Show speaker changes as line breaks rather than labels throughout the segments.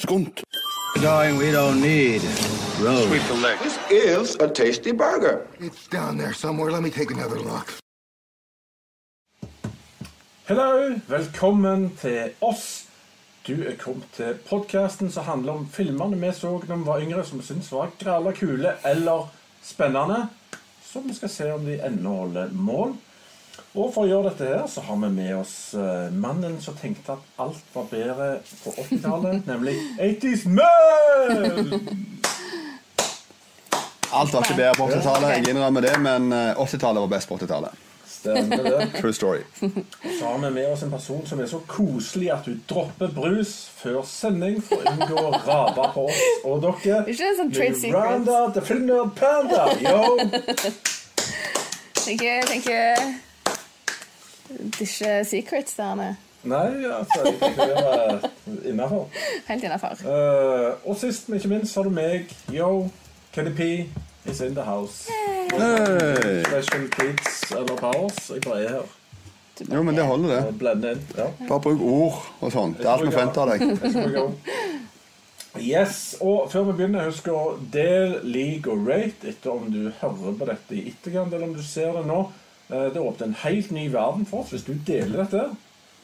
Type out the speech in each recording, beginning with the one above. sekund.
Going we don't need roads.
This is a tasty burger.
It's down there somewhere. Let me take another look.
Hello, velkommen til oss. Du er kommet til podkasten som handler om filmene vi så da vi var yngre, som vi syntes var gralla kule eller spennende. Så vi skal se om de ennå holder mål. Og for å gjøre dette her, så har vi med oss eh, mannen som tenkte at alt var bedre på 80-tallet, nemlig 80's Man!
Alt var ikke bedre på 80-tallet, jeg innrømmer det, men eh, 80-tallet var best på 80-tallet.
Stemmer det.
True story.
Så har vi med oss en person som er så koselig at hun dropper brus før sending for å unngå å rabe på oss og dere.
Ikke en sånn trade secret.
Miranda the Film Nerd Panda, yo!
Tenker, tenker Det er ikke secrets der nede.
Nei, altså, jeg tenker det var innafor.
Helt innafor.
Eh, og sist, men ikke minst, har du meg, yo, Kenny P, is in the house.
Hey.
Special kids eller powers, jeg bare er her.
Jo, men det holder, det.
Og blender inn, ja.
Bare bruk ord og sånn. Det er alt vi forventer av deg.
Let's we go. Yes, og Før vi begynner, husk å del, like og rate etter om du hører på dette i etterkant eller om du ser det nå. Eh, Det åpner en helt ny verden for oss hvis du deler dette.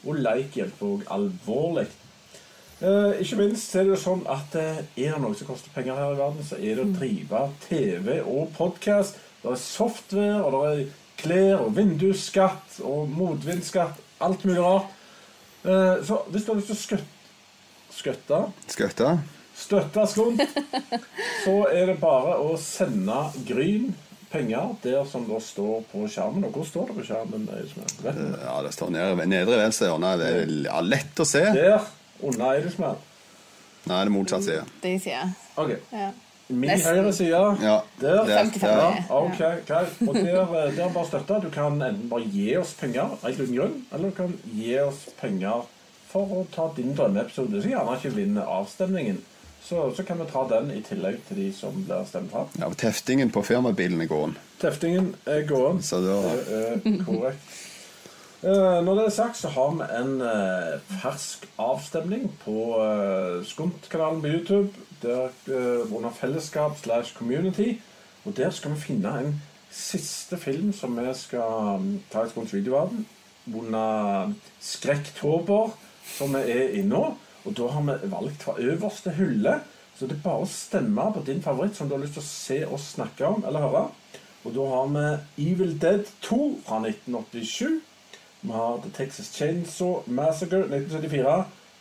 Og like hjelper òg alvorlig. Eh, ikke minst er det jo sånn at eh, er det noe som koster penger her i verden, så er det å drive TV og podkast. Det er software, og det er klær og vindusskatt og motvindsskatt. Alt mulig rart. Eh, så hvis du har lyst til å skøtte, skøtte
Skøtta.
støtte Skund, så er det bare å sende Gryn penger der som det står på skjermen. Og hvor står det på skjermen? Eidesmann? Vet du?
Ja, det står nede ved nedre venstre hjørne. Det er ja, lett å se.
Der, under Eidesmann.
Nei, det er motsatt side.
Det jeg sier.
Ok.
Ja.
Min
Nesten.
høyre side.
Ja,
Der.
der,
55.
der.
Ja, ok, greit. Og der, eh, der bare støtte. Du kan enten bare gi oss penger, av en liten grunn, eller du kan gi oss penger for å ta din drømmeepisode, som gjerne ikke vinner avstemningen. Så, så kan vi ta den i tillegg til de som blir stemt fram.
Ja, for Teftingen på firmabilen i går.
Teftingen er gåen.
Så da-
Det er korrekt. Eh, Når det er sagt, så har vi en eh, fersk avstemning på eh, Skunt-kanalen på YouTube. Der, eh, under fellesskap slash community. Og der skal vi finne en siste film som vi skal mm, ta i Skunts videoverden. Under Skrekktober, som vi er i nå. Og da har vi valgt fra øverste hylle. Så det er bare å stemme på din favoritt som du har lyst til å se oss snakke om eller høre. Og da har vi Evil Dead 2 fra 1987. Vi har The Texas Chainsaw Massacre 1974.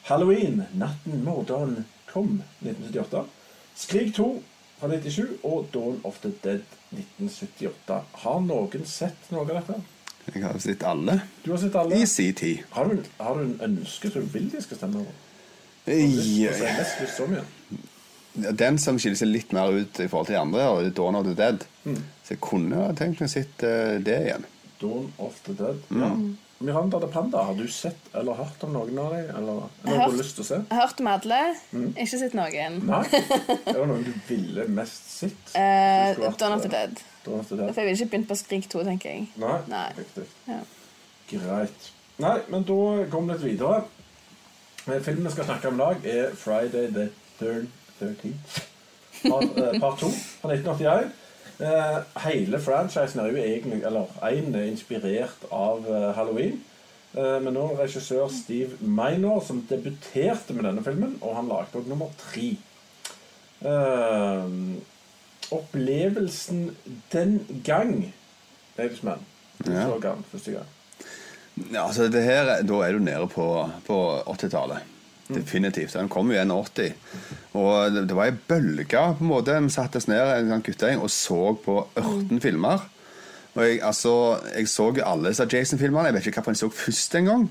Halloween Natten morderen kom 1978. Skrik 2 fra 1997 og Dawn of the Dead 1978. Har noen sett noe av dette?
Jeg har sett alle
Du har sett alle?
i sin tid.
Har du, en- har du en ønske som du vil de skal stemme over? Altså,
Ja,
jeg mest lyst om, ja.
Den som skiller seg litt mer ut i forhold til de andre, og det er Dawn of the Dead.
Mm.
Så jeg kunne ha tenkt meg å se eh, det igjen.
Dawn of the Dead. Ja. Miranda de Panda, har du sett eller hørt om noen av dem? Eller
Jeg
noe
har
du har
hørt-
lyst til å se?
Jeg har hørt om alle. Ikke sett noen.
Mm. Nei? Er det noen du ville mest sett?
Eh,
Du skulle vært-
Dawn of the Dead.
Dawn of the
For
Dead.
jeg ville ikke begynt på Skrik 2, tenker Altså, jeg.
Nei?
Nei.
Riktig.
Ja.
Greit. Nei, men da kom det litt videre. Eh, Filmen vi skal snakke om i dag, er 'Friday the Third- 13th'. Part, eh, part 2 fra 1981. Eh, hele franchisen er jo egentlig Eller én er inspirert av eh, Halloween. Eh, men nå er regissør Steve Minor som debuterte med denne filmen, og han lagde også nummer tre. Eh, opplevelsen den gang Eidesmann. Du
Ja.
så den første gang.
Ja, altså det her, Da er du nede på, på 80-tallet. Definitivt. Den kom jo i 81. Og det, det var ei bølge. på en måte. Vi satte oss ned en sånn guttegjeng og så på 18 filmer. Og jeg, altså, jeg så jo alle disse Jason-filmene. Jeg vet ikke hvilken jeg så først engang.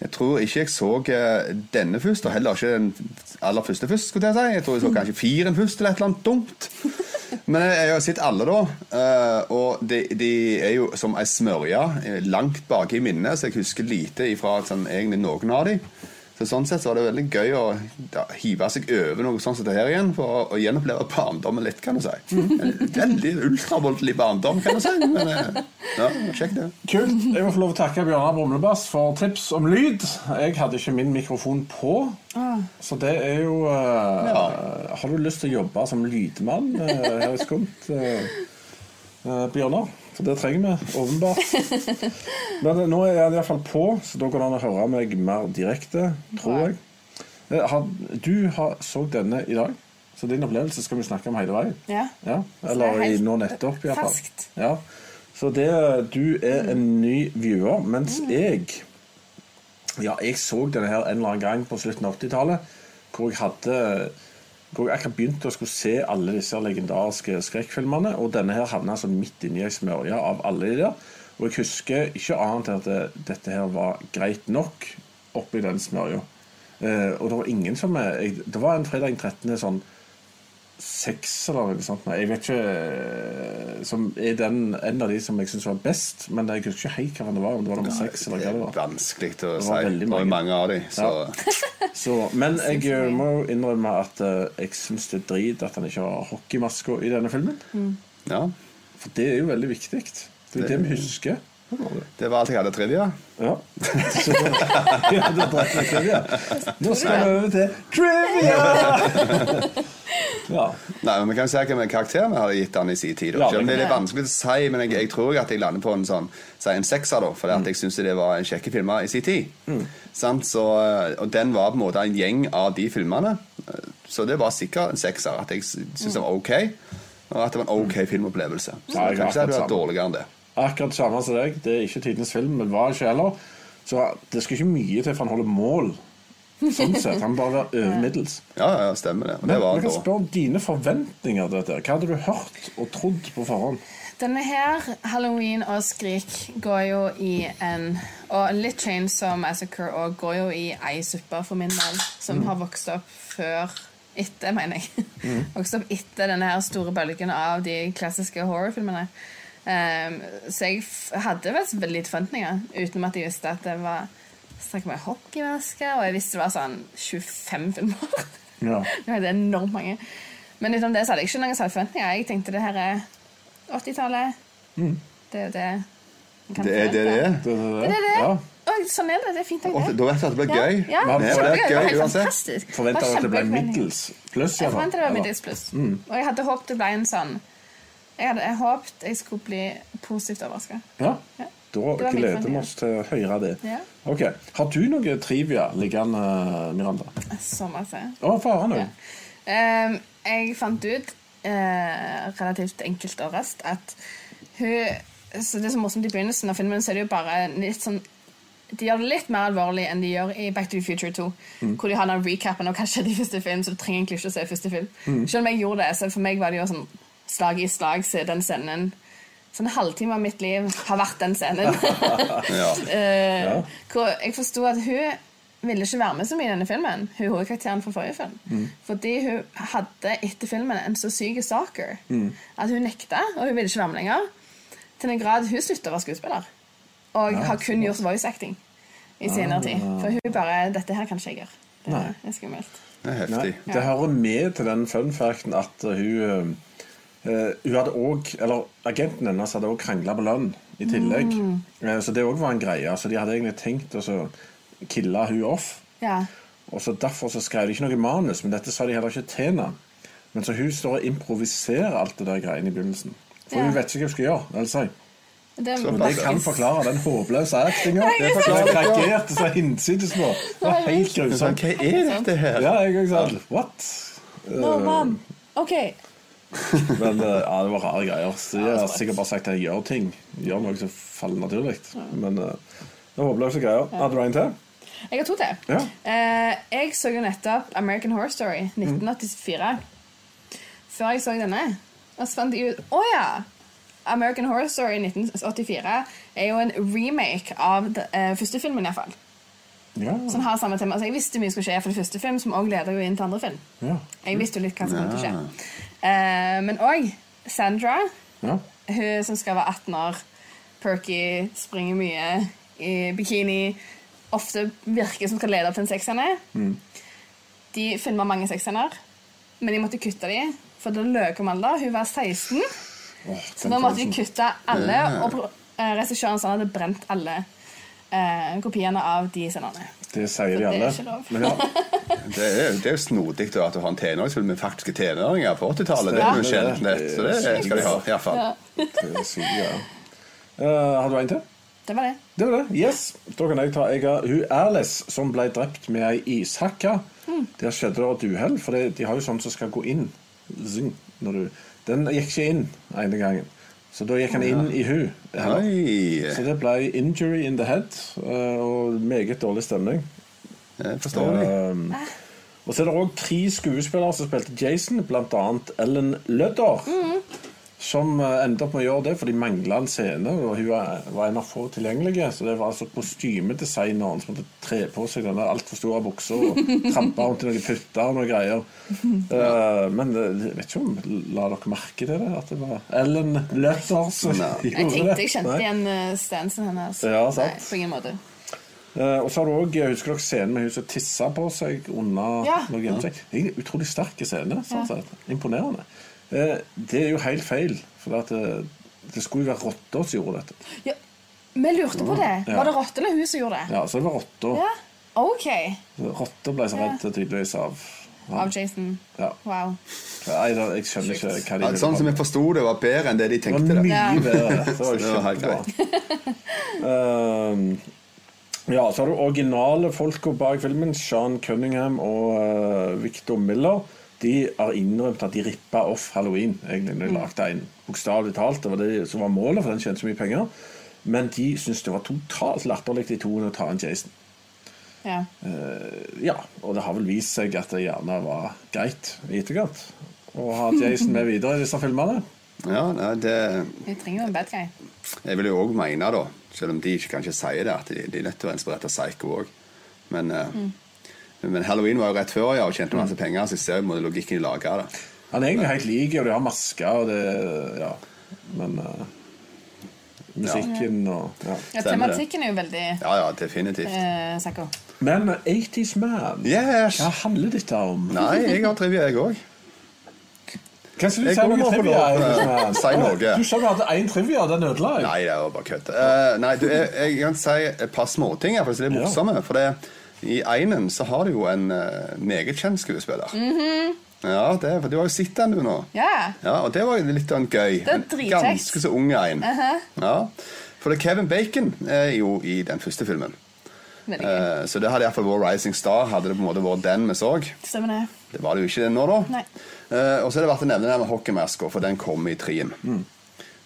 Jeg tror ikke jeg så eh, denne først, og heller ikke den aller første først. skulle Jeg si. Jeg tror jeg så kanskje firen først, eller et eller annet dumt. Men jeg, jeg har sett alle, da. eh, og de, de er jo som ei smørje eh, langt bak i minnet, så jeg husker lite ifra at sånn, egentlig noen av de. Så Sånn sett så var det veldig gøy å ja, hive seg over noe sånt som det her igjen, for å, å gjenoppleve barndommen litt, kan du si. En Veldig ultravoldelig barndom, kan du si. Men eh, ja, kjekt, det.
Kult. Jeg må få lov å takke Bjørnar Brumlebass for tips om lyd. Jeg hadde ikke min mikrofon på, så det er jo eh,
Ja.
Har du lyst til å jobbe som lydmann eh, her i Skumt, eh, eh, Bjørnar? For det trenger vi åpenbart. Men eh, nå er han iallfall på, så da går det an å høre meg mer direkte, tror jeg. Eh, Har, du har, så denne i dag, så din opplevelse skal vi snakke om hele veien.
Ja.
Ja,
Så det
eller
er
i
helt
nå nettopp, i hvert fall.
ferskt.
Ja. Så det, eh, du er en ny viewer, mens
Mm.
jeg Ja, jeg så denne her en eller annen gang på slutten av 80-tallet, hvor jeg hadde hvor jeg akkurat begynte å skulle se alle disse legendariske skrekkfilmene, og denne her havna altså midt inni ei smørje av alle de der. Og jeg husker ikke annet enn at det, dette her var greit nok oppi den smørja. Eh, og det var ingen som eh, jeg, Det var en fredag den 13. sånn seks eller noe sånt. Nei, jeg vet ikke Som er den, en av de som jeg syns var best, men jeg husker ikke helt hva det var. Om det var nummer seks eller
Det
hva
er
det var.
vanskelig å
Det
si.
var veldig
Det er
mange.
mange av dem, så
Så, men jeg
Syns
eh,
jeg.
må jo innrømme at eh, jeg syns det er drit at han ikke har hockeymaska i denne filmen.
ja.
For det er jo veldig viktig. Det er jo det vi husker.
Det var alt jeg hadde trivia.
Ja. Så, ja, det er bra med trivia. Nå skal vi over til trivia! Ja.
Nei, men Vi kan se hvilken karakter vi hadde gitt han i sin tid. da.
Ja,
Selv om det
det
er
kan
litt vanskelig å si, men jeg, jeg tror at jeg lander på en sånn Si en sekser, da, fordi at jeg syns det var en kjekke filmer i sin tid.
Mm.
Sant? Så, eh, og den var på en måte en gjeng av de filmene. Eh, Så det var sikkert en sekser. At jeg s- syns det var ok. Og at det var en ok filmopplevelse. Så
Ja,
jeg kan ikke si at det
akkurat
var dårligere enn det.
Akkurat samme som deg. Det er ikke tidenes film, men var ikke heller. Så det skal ikke mye til for han holder mål. Sånn sett. Han bare være over middels.
Ja, ja, stemmer det. Og det
Men
var
jeg kan
da.
spørre om dine forventninger til dette. Hva hadde du hørt og trodd på forhånd?
Denne her, Halloween og Skrik, går jo i en Og litt Chainsaw Massacre og går jo i ei suppe for min del, som har vokst opp før Etter, mener jeg. vokst opp etter denne her store bølgen av de klassiske horrorfilmene. Ehm, så jeg f hadde vel så veldig lite forventninger, utenom at jeg visste at det var Snakk om hockeymaske, og jeg visste det var sånn 25 filmer.
Ja.
Nå er det enormt mange. Men utenom det så hadde jeg ikke noen særlige forventninger. Jeg tenkte det her er 80-tallet. Det er jo det en kan
Det er det det
forvente.
er.
Det, det,
Det er det.
Ja.
Og sånn er det. Det er fint. tenkt,
Og
det.
da vet du at det blir
Ja.
gøy.
Ja,
Men
det
det
var
var
kjempegøy. Det var helt
uansett.
fantastisk.
Forventa
Det var
at det ble
kjempegøy forventninger.
middels pluss. i
Jeg
hvert fall.
forventet det var
Eller-
middels pluss. Og jeg hadde håpet det ble en sånn Jeg hadde jeg håpet jeg skulle bli positivt overraska.
Ja.
Ja.
Da
Det var min
gleder vi
forventning.
oss til å høre det.
Ja.
Ok, Har du noe trivia liggende, eh, Miranda?
Så masse.
Å, få høre noe.
Ehm, jeg fant ut eh, relativt enkelt og raskt at hun så Det er så morsomt i begynnelsen av filmen, så er det jo bare litt sånn de gjør det litt mer alvorlig enn de gjør i Back to the Future 2. Hvor de har den recapen av hva skjedde i første film. Så du trenger egentlig ikke å se første film. Selv om jeg gjorde det, så for meg var det jo sånn slag i slag så er den scenen. Sånn en halvtime av mitt liv har vært den scenen.
Ja.
Eh,
Ja.
Hvor jeg forsto at hun ville ikke være med så mye i denne filmen. Hun hovedkarakteren fra forrige film.
Mm.
Fordi hun hadde etter filmen en så syk stalker
Mm.
at hun nekta, og hun ville ikke være med lenger. Til den grad hun slutta å være skuespiller. Og har kun gjort voice acting i senere tid. For hun bare 'Dette her kan ikke jeg gjøre'. Det
Ah. Nei.
er skummelt.
Det er
Nei,
heftig.
det hører med til den fun facten at uh, hun uh, Hun hadde også, eller Agenten hennes hadde òg krangla på lønn i tillegg.
Mm.
Eh, så det òg var en greie. Så de hadde egentlig tenkt å så kille hun off.
Ja.
Og så Derfor så skrev de ikke noe manus, men dette sa de heller ikke til henne. Men så hun står og improviserer alt det der greiene i begynnelsen. For
Ja.
hun vet ikke hva hun skal gjøre. eller si.
Det,
Så
Og det kan forklare den håpløse actinga.
Nei,
Det
jeg
forklarer
forstår ikke.
reagerte så hinsides på. Det var helt
Men sånn,
grusomt.
hva er sånn dette her?
Ja, jeg òg sa what?
No, mom. OK.
Men eh, ja, det var rare greier. Så jeg har sikkert bare sagt at jeg gjør ting. Gjør noe som faller naturlig. Men eh, det var håpløse greier. Hadde du en til?
Jeg har to til.
Ja.
Eh, jeg så jo nettopp American Horror Story 1984. Før jeg så denne. Og så fant jeg ut Å ja! American Horror Story 1984 er jo en remake av de, eh, første filmen, iallfall.
Ja.
Som har samme tema. Så jeg visste mye skulle skje for det første film, som også leder jo inn til andre film.
Ja.
Jeg visste jo litt hva som kom til å skje. Eh, men òg Sandra,
ja.
hun som skal være 18 år, perky, springer mye i bikini, ofte virker som skal lede opp til en sekshender.
Mm.
De filma mange sekshender, men de måtte kutte de, for da Løkemalda hun var 16, så da måtte de kutte alle.
Ja.
Og eh, regissøren sa han hadde brent alle eh, kopiene av de scenene.
Det sier de
er
alle.
ikke lov.
Men ja,
Det er, det er jo snodig da, at du har en tenåringsfilm med faktiske tenåringer på 80-tallet. Det er jo
Stemmer det.
sjelden lett, så det skal de ha. i hvert fall.
det sier de, ja. Eh, har du en til?
Det var det.
Det var det. Yes. Da kan jeg ta jeg har hun Alice som ble drept med ei ishakke.
Mm.
Der skjedde det et uhell, for det, de har jo sånn som skal gå inn. Zing, når du, den gikk ikke inn ene gangen, så da gikk han inn i hun. heller.
Oi,
Så det ble injury in the head eh, og meget dårlig stemning.
det forstår jeg.
Og så er det òg tre skuespillere som spilte Jason, bl.a. Ellen Ludder. Som eh, endte opp med å gjøre det, for de mangla en scene. Og hun var var en av få tilgjengelige. Så det var altså kostymedesigneren som måtte tre på seg denne altfor store buksa og trampe rundt i noen putter og noen greier. Eh, men eh, jeg vet ikke om La dere merke til det? At det var Ellen Ludder som
Nei.
gjorde det?
Jeg tenkte jeg kjente
Nei.
igjen eh, stansen hennes.
Ja, sant.
Nei, på ingen måte.
Eh, og så har du også, jeg Husker dere scenen med hun som tissa på seg under
Ja.
når hun gjemte seg? Det er en utrolig sterk scene. Sånn sett. Imponerende. Eh, det er jo helt feil. For at det, det skulle jo være rotta som gjorde dette.
Ja, vi lurte på det.
Ja.
Var det rotta eller hun som gjorde det?
Ja, Så det var rotta.
Ja. OK.
Rotta ble så redd tydeligvis av
Av Jason.
Ja.
Wow.
Nei, da, jeg skjønner ikke hva de
Ja, sånn som jeg forsto det, var bedre enn det de
Det
tenkte. det.
var mye
Ja.
bedre. Det var
Det var helt
kjempebra. Ehm, ja, så har du originale folka bak filmen. Sean Cunningham og eh, Victor Miller. De har innrømt at de rippa off halloween. egentlig når de lagde en, Bokstavelig talt. Det var det som var målet, for den tjente så mye penger. Men de syntes det var totalt latterlig de to å ta en Jason. Uh,
Ja.
Ja, og det har vel vist seg at det gjerne var greit i etterkant å ha Jason med videre i disse filmene.
Ja, nei, det
Vi trenger jo en bad guy.
Jeg vil jo òg mene, da, selv om de ikke kanskje sier det, at de, de er nødt til å være inspirert av Psycho òg. Men, eh,
Mm.
men halloween var jo rett før, ja, og tjente masse penger, så jeg ser jo på logikken i laget av det.
Han er egentlig helt lik, og de har masker og det Ja. Men eh, musikken og ja.
Ja,
Stemmer det.
tematikken er jo veldig
Ja, ja, definitivt.
eh, psycho.
Men 80's Man,
Yes!
hva handler dette om?
Nei, jeg har trivia, jeg òg.
Kan ikke du
Jeg
si
kommer
noe
på
trivia?
noe.
Eivind Mann?
Si noe.
Du sa du hadde én trivia, den ødela jeg.
Nei, det var bare kødd. Eh, nei, du, jeg, jeg kan si et par småting her, for det er morsomme. For det, i Einen så har du jo en eh, meget kjent skuespiller. Ja, det, for du har jo sett den, du, nå.
Mhm. Ja.
Ja, og det var jo litt av en gøy.
er
En
dritkjekt.
ganske så ung en. ja. For det Kevin Bacon er jo i den første filmen.
Veldig
Eh,
gøy.
så det hadde iallfall vært Rising Star, hadde det på en måte vært den vi så.
Stemmer det.
Det var det jo ikke den nå, da.
Nei.
Eh, og så er det verdt å nevne den med hockeymaska, for den kom i trien.
Mm.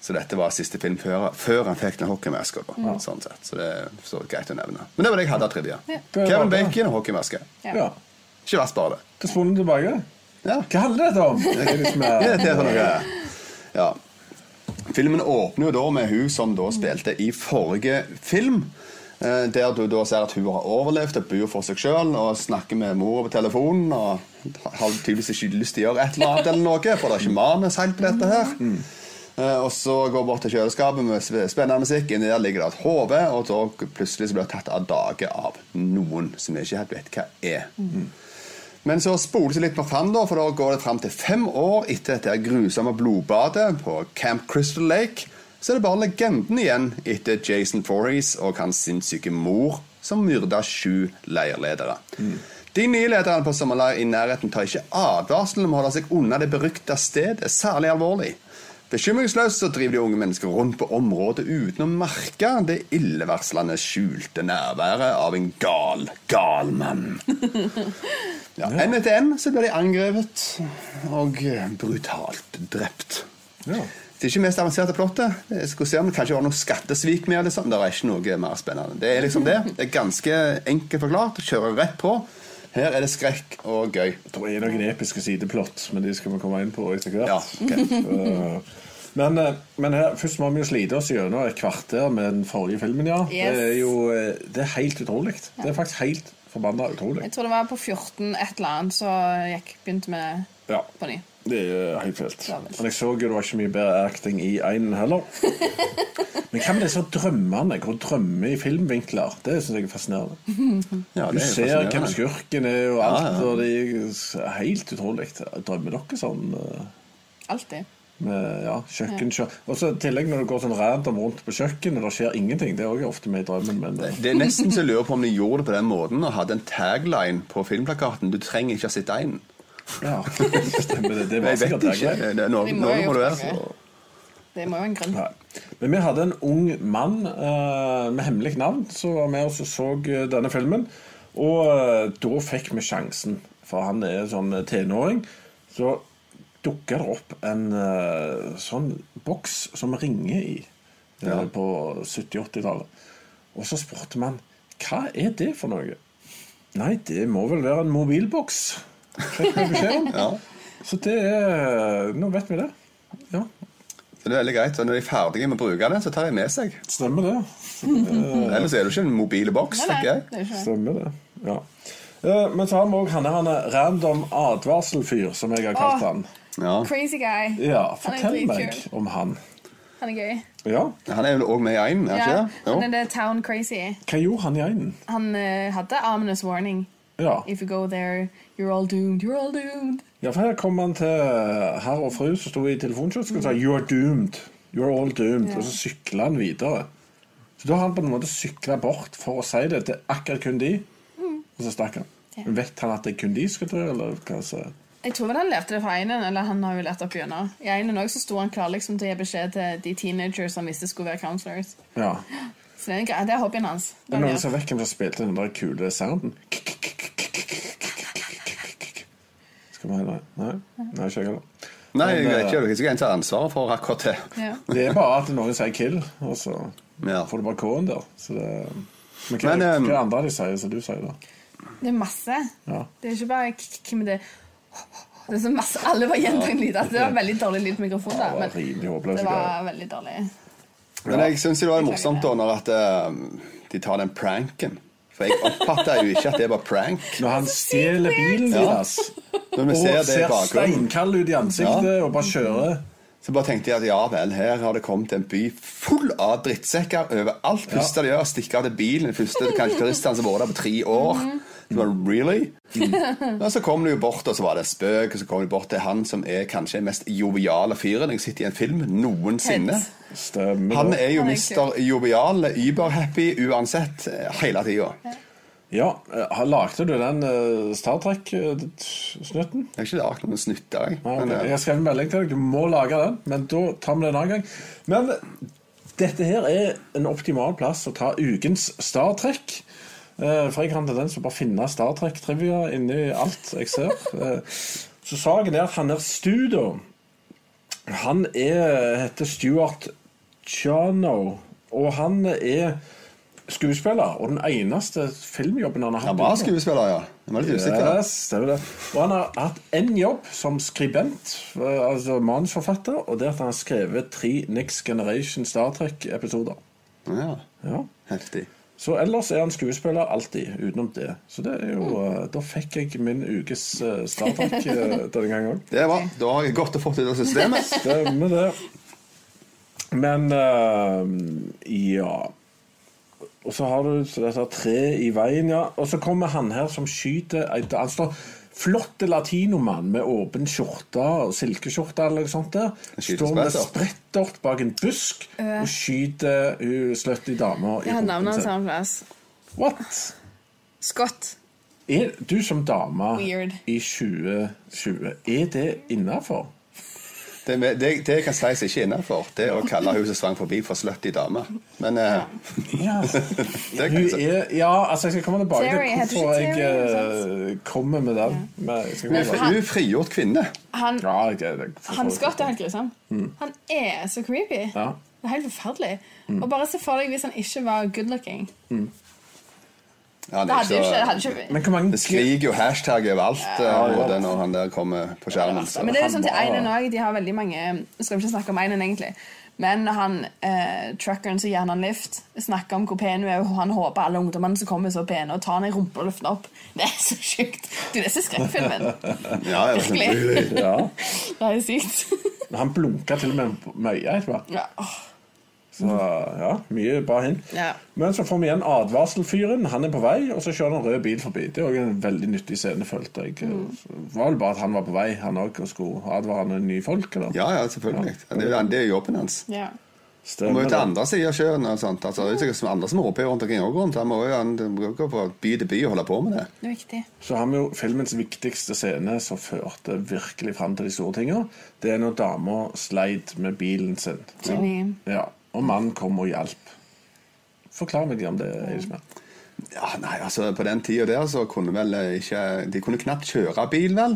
Så dette var siste film før, før han fikk den hockeymaska. da, Sånn sett. så det er så greit å nevne. Men det var det jeg hadde av trivia. Kevin
Det var bra.
Bacon og hockeymaske.
Ja.
Ja.
Ikke verst, bare det.
Da spoler vi tilbake.
Ja.
Hva handler dette om? 80's Man.
Ja, dette er for noe. Ja. Filmen åpner jo da med hun som da spilte i forrige film. eh, Der du da ser at hun har overlevd og bor for seg sjøl og snakker med mora på telefonen. Og har tydeligvis ikke lyst til å gjøre et eller annet, eller noe for det er ikke manus helt på dette her. Eh, Og så går bort til kjøleskapet med sp- spennende musikk. Inni der ligger det et hode, og da plutselig så blir det tatt av dage av noen som vi ikke helt vet hva er. Men så spoles det litt på fram, da, for da går det fram til fem år etter dette her grusomme blodbadet på Camp Crystal Lake. Så er det bare legenden igjen etter Jason Forrees og hans sinnssyke mor, som myrda sju leirledere. De nye lederne på sommerleir i nærheten tar ikke advarselen om å holde seg unna det berykta stedet særlig alvorlig. Bekymringsløst så driver de unge mennesker rundt på området uten å merke det illevarslende skjulte nærværet av en gal, gal mann. Ja, En etter en så blir de angrepet og eh, brutalt drept.
Ja.
Det er ikke mest avanserte plottet. Jeg skulle se om det kanskje var noe skattesvik med. eller sånn. Det er ikke noe mer spennende. Det er liksom det. Det er ganske enkelt forklart. Kjører rett på. Her er det skrekk og gøy.
Det er noen episke sideplott, men de skal vi komme inn på etter hvert.
Ja,
Eh, men eh, men her, først må vi jo slite oss gjennom et kvarter med den forrige filmen, ja.
Yes.
Det er jo eh, det er helt utrolig. Det er faktisk helt forbanna utrolig.
Jeg tror det var på 14 et eller annet, så jeg begynte med
Ja.
på ny.
Det er eh, helt fælt.
Ja vel.
Men jeg så jo det var ikke mye bedre acting i einen heller. Men hva med disse drømmene? Hvor drømmer i filmvinkler? Det syns jeg er fascinerende.
Ja,
Du
det er jo
ser hvem
fascinerende.
skurken er og alt,
Ja, ja.
og det er helt utrolig. Drømmer dere sånn? eh,
Alltid.
Med, ja, kjøkken, kjø- Og så i tillegg når du går sånn random rundt på kjøkkenet, det skjer ingenting. Det er også ofte med i drømmen, men eh,
Det er nesten så jeg lurer på om de gjorde det på den måten og hadde en tagline på filmplakaten. Du trenger ikke å sitte inn.
ja. Stemmer det. Det var
Jeg vet
sikkert
ikke.
Dagny.
Det er noe,
De må
noe
jo
må det
gjøre
være.
det. Det må jo være en grunn.
Nei. Men vi hadde en ung mann eh, med hemmelig navn som var med oss og så eh, denne filmen. Og eh, da fikk vi sjansen, for han er sånn eh, tenåring. Så dukka det opp en eh, sånn boks som vi ringer i eh, på 70-80-tallet. Og så spurte man hva er det for noe. Nei, det må vel være en mobilboks. Fikk vi beskjed om. Så det er Nå vet vi det. Ja,
Så det er veldig greit. Og når de er ferdige med å bruke det, så tar de med seg.
stemmer det.
Ellers er det jo ikke en mobil boks,
Nei, nei,
tenker jeg.
det er ikke det.
Stemmer det. Ja. Eh, Men så har vi òg han her, han er random advarselfyr, som jeg har kalt
Åh.
han.
Ja.
Crazy guy.
Ja,
Han
fortell
er
meg
dritkul.
om han.
Han er gøy.
Ja,
Han er jo òg med i Einen, er
Ja,
han ikke
han er
det? Jo.
det Town Crazy.
hva gjorde han i einen?
Han eh, hadde ominous warning.
Ja.
If you go there, you're all doomed, you're all doomed.
ja, for her kom han til herr og fru som sto i telefonkiosken og sa 'You're doomed'. You're all doomed.
Ja.
Og så sykla han videre. Så da har han på en måte sykla bort for å si det til akkurat kun de, og så stakk han.
Mm. Ja.
Men Vet han at det er kun de skal dø, eller hva så?
Jeg tror vel han levde det fra einen, eller han har jo lært opp gjennom. I einen også så sto han klar liksom, til å gi beskjed til de teenagers han visste skulle være counselors.
Ja.
Så det er, en gre- det er hobbyen hans.
Det er noen som vet hvem som spilte den der kule sounden. Skal vi heller Nei, Nei ikke jeg heller.
Nei, jeg
Men,
vet ikke.
eh,
Du kan ikke ta ansvaret for akkurat det.
Ja.
Det er bare at noen sier 'kill', og så
Ja.
får du bare K-en der. Så det, men hva,
Men, eh,
hva andre de sier, som du sier, da?
Det er masse.
Ja.
Det er ikke bare k- k- men det Det er så masse Alle var gjentagende lyd. Altså, det var veldig dårlig lyd på mikrofonen.
Ja,
da,
det var
men
rimelig håpløse
det
greier.
var veldig dårlig.
Men jeg syns det var morsomt da når at eh, de tar den pranken. For jeg oppfatter jo ikke at det var prank.
Når han stjeler bilen
Ja.
deres
Når vi
og
ser det i
ser
bakgrunnen,
steinkald ut i ansiktet og bare kjører
så bare tenkte jeg at ja vel, her har det kommet en by full av drittsekker overalt. Første de gjør, er å stikke av til bilen. Den første kanskje turistene som har vært der på tre år.
Mhm.
Så bare, really? Og så kom de jo bort, og så var det en spøk, og så kom de bort til han som er kanskje den mest joviale fyren jeg har sett i en film noensinne.
Ted.
Stemmer.
Han
det.
er jo
Han er
mister jovial, überhappy uansett, eh, hele tida.
Ja, eh, Lagde du den eh, Star Trek-snutten?
Jeg har ikke lagd noen snutter, jeg.
Nei, ok.
Men, eh,
Jeg skrev en melding til deg. Du må lage den, men da tar vi det en annen gang. Men dette her er en optimal plass å ta ukens Star Trek. Eh, For jeg har en tendens til å bare finne Star Trek-trivia inni alt jeg ser. Eh, Så saken er at han der Stu, da Han er, heter Stuart Chano, og han er skuespiller. Og den eneste filmjobben han har hatt.
han var
utenom-
skuespiller, ja. Jeg var litt usikker.
Yes, stemmer det. Og han har hatt én jobb som skribent, eh, altså manusforfatter, og det er at han har skrevet tre Next Generation Star Trek-episoder.
Ja,
Ja.
heftig.
Så ellers er han skuespiller alltid, utenom det. Så det er jo eh, Da fikk jeg min ukes eh, Star Trek eh, denne gangen òg.
Det er bra. Da har jeg godt og fått ut av systemet.
Stemmer det. Men eh, ja Og så har du så dette tre i veien, ja. Og så kommer han her som skyter et Han står flotte latinomann med åpen skjorte og silkeskjorte eller noe sånt der.
Han skyter
Står med
sprettert.
sprettert bak en busk og skyter hun slutty dama i
Jeg har navnet
hodet
hans
sin.
samme plass.
What?
Scott.
Er du som dame
Weird.
i 2020, er det innafor?
Det, er med- det, det jeg kan si som ikke er innafor, det er å kalle hun som svang forbi, for slutty dame. Men eh,
Ja.
det kan
Hun
jeg si.
er, ja, altså jeg skal komme tilbake
Terry, heter
til
ikke
hvorfor
Terry,
jeg eh, kommer med den. Men jeg skal
Hun
komme
er fri-
tilbake.
hun er frigjort kvinne.
Han,
Ja, jeg- jeg- Mm.
han Scott er helt grusom. Han er så creepy.
Ja. Mm.
Det er helt forferdelig. Og bare se for deg hvis han ikke var good looking.
Ja, han
Det
er
hadde jo ikke, det
så-
hadde ikke
Men hvor mange
Det skriker jo hashtag overalt eh, på det når han der kommer på skjermen.
Men
Så.
det er jo sånn til
Han var-
Einen òg. De har veldig mange Skal vi ikke snakke om Einen, egentlig. Men han, eh, truckeren som gir han lift, snakker om hvor pen hun er, og han håper alle ungdommene som kommer, er så pene, og tar han i rumpa og løfter han opp. Det er så sjukt. Du, det er så skrekkfilmen.
Ja, ja,
Virkelig.
Ja.
Det er sykt.
Men Han blunka til og med med øyet etter hvert.
Ja, åh.
Så ja, mye bra hint.
Ja.
Men så får vi igjen advarselfyren. Han er på vei, og så kjører det en rød bil forbi. Det er òg en veldig nyttig scene, følte jeg.
Mm.
Det var vel bare at han var på vei, han òg, og skulle advare noen nye folk, eller?
Ja, ja, selvfølgelig. Det er, jo- det er jo jobben hans.
ja.
Han må
Stemmer
jo til
det.
andre siden av sjøen. og sånt. Altså, det er sikkert som andre som roper rundt omkring også, rundt. Han må jo han må jo gå fra by til by og holde på med det.
Det er viktig.
Så har vi jo filmens viktigste scene som førte virkelig fram til de store tinga. Det er når dama sleit med bilen sin.
Enig.
Ja, Og mannen kom og hjalp. Forklar meg om det, Eilsmed.
Ja, nei, altså På den tida der så kunne vel eh, ikke De kunne knapt kjøre bil, vel?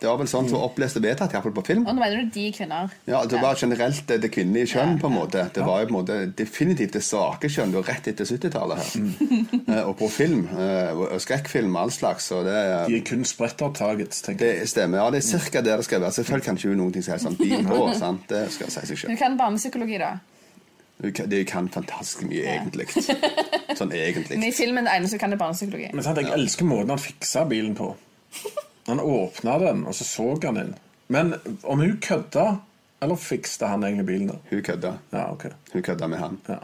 Det var vel sånn som opplest og vedtatt, iallfall på film.
Og nå mener du de kvinner.
Ja, Det var generelt eh, det, det kvinnelige kjønn, på en måte. Det var jo på en måte definitivt det svake kjønn. Det var rett etter 70-tallet her. Eh, Og på film. eh, og Skrekkfilm og all slags. Og det,
De er kun sprettavtagets, tenker jeg.
det stemmer. Ja, det er ca. der det skal være. Selvfølgelig kan ikke hun noen ting som helst om bil på. sant? Det skal si seg selv.
Du kan barnepsykologi, da.
Du kan, du kan fantastisk mye, egentlig. Sånn
Men
egentlig.
i filmen det eneste du kan, er barnepsykologi.
Men sant, jeg elsker måten han fiksa bilen på. Han åpna den, og så så han den. Men om hun kødda, eller fikste han egentlig bilen? da?
Hun kødda.
Ja, ok.
Hun kødda med han.
Ja.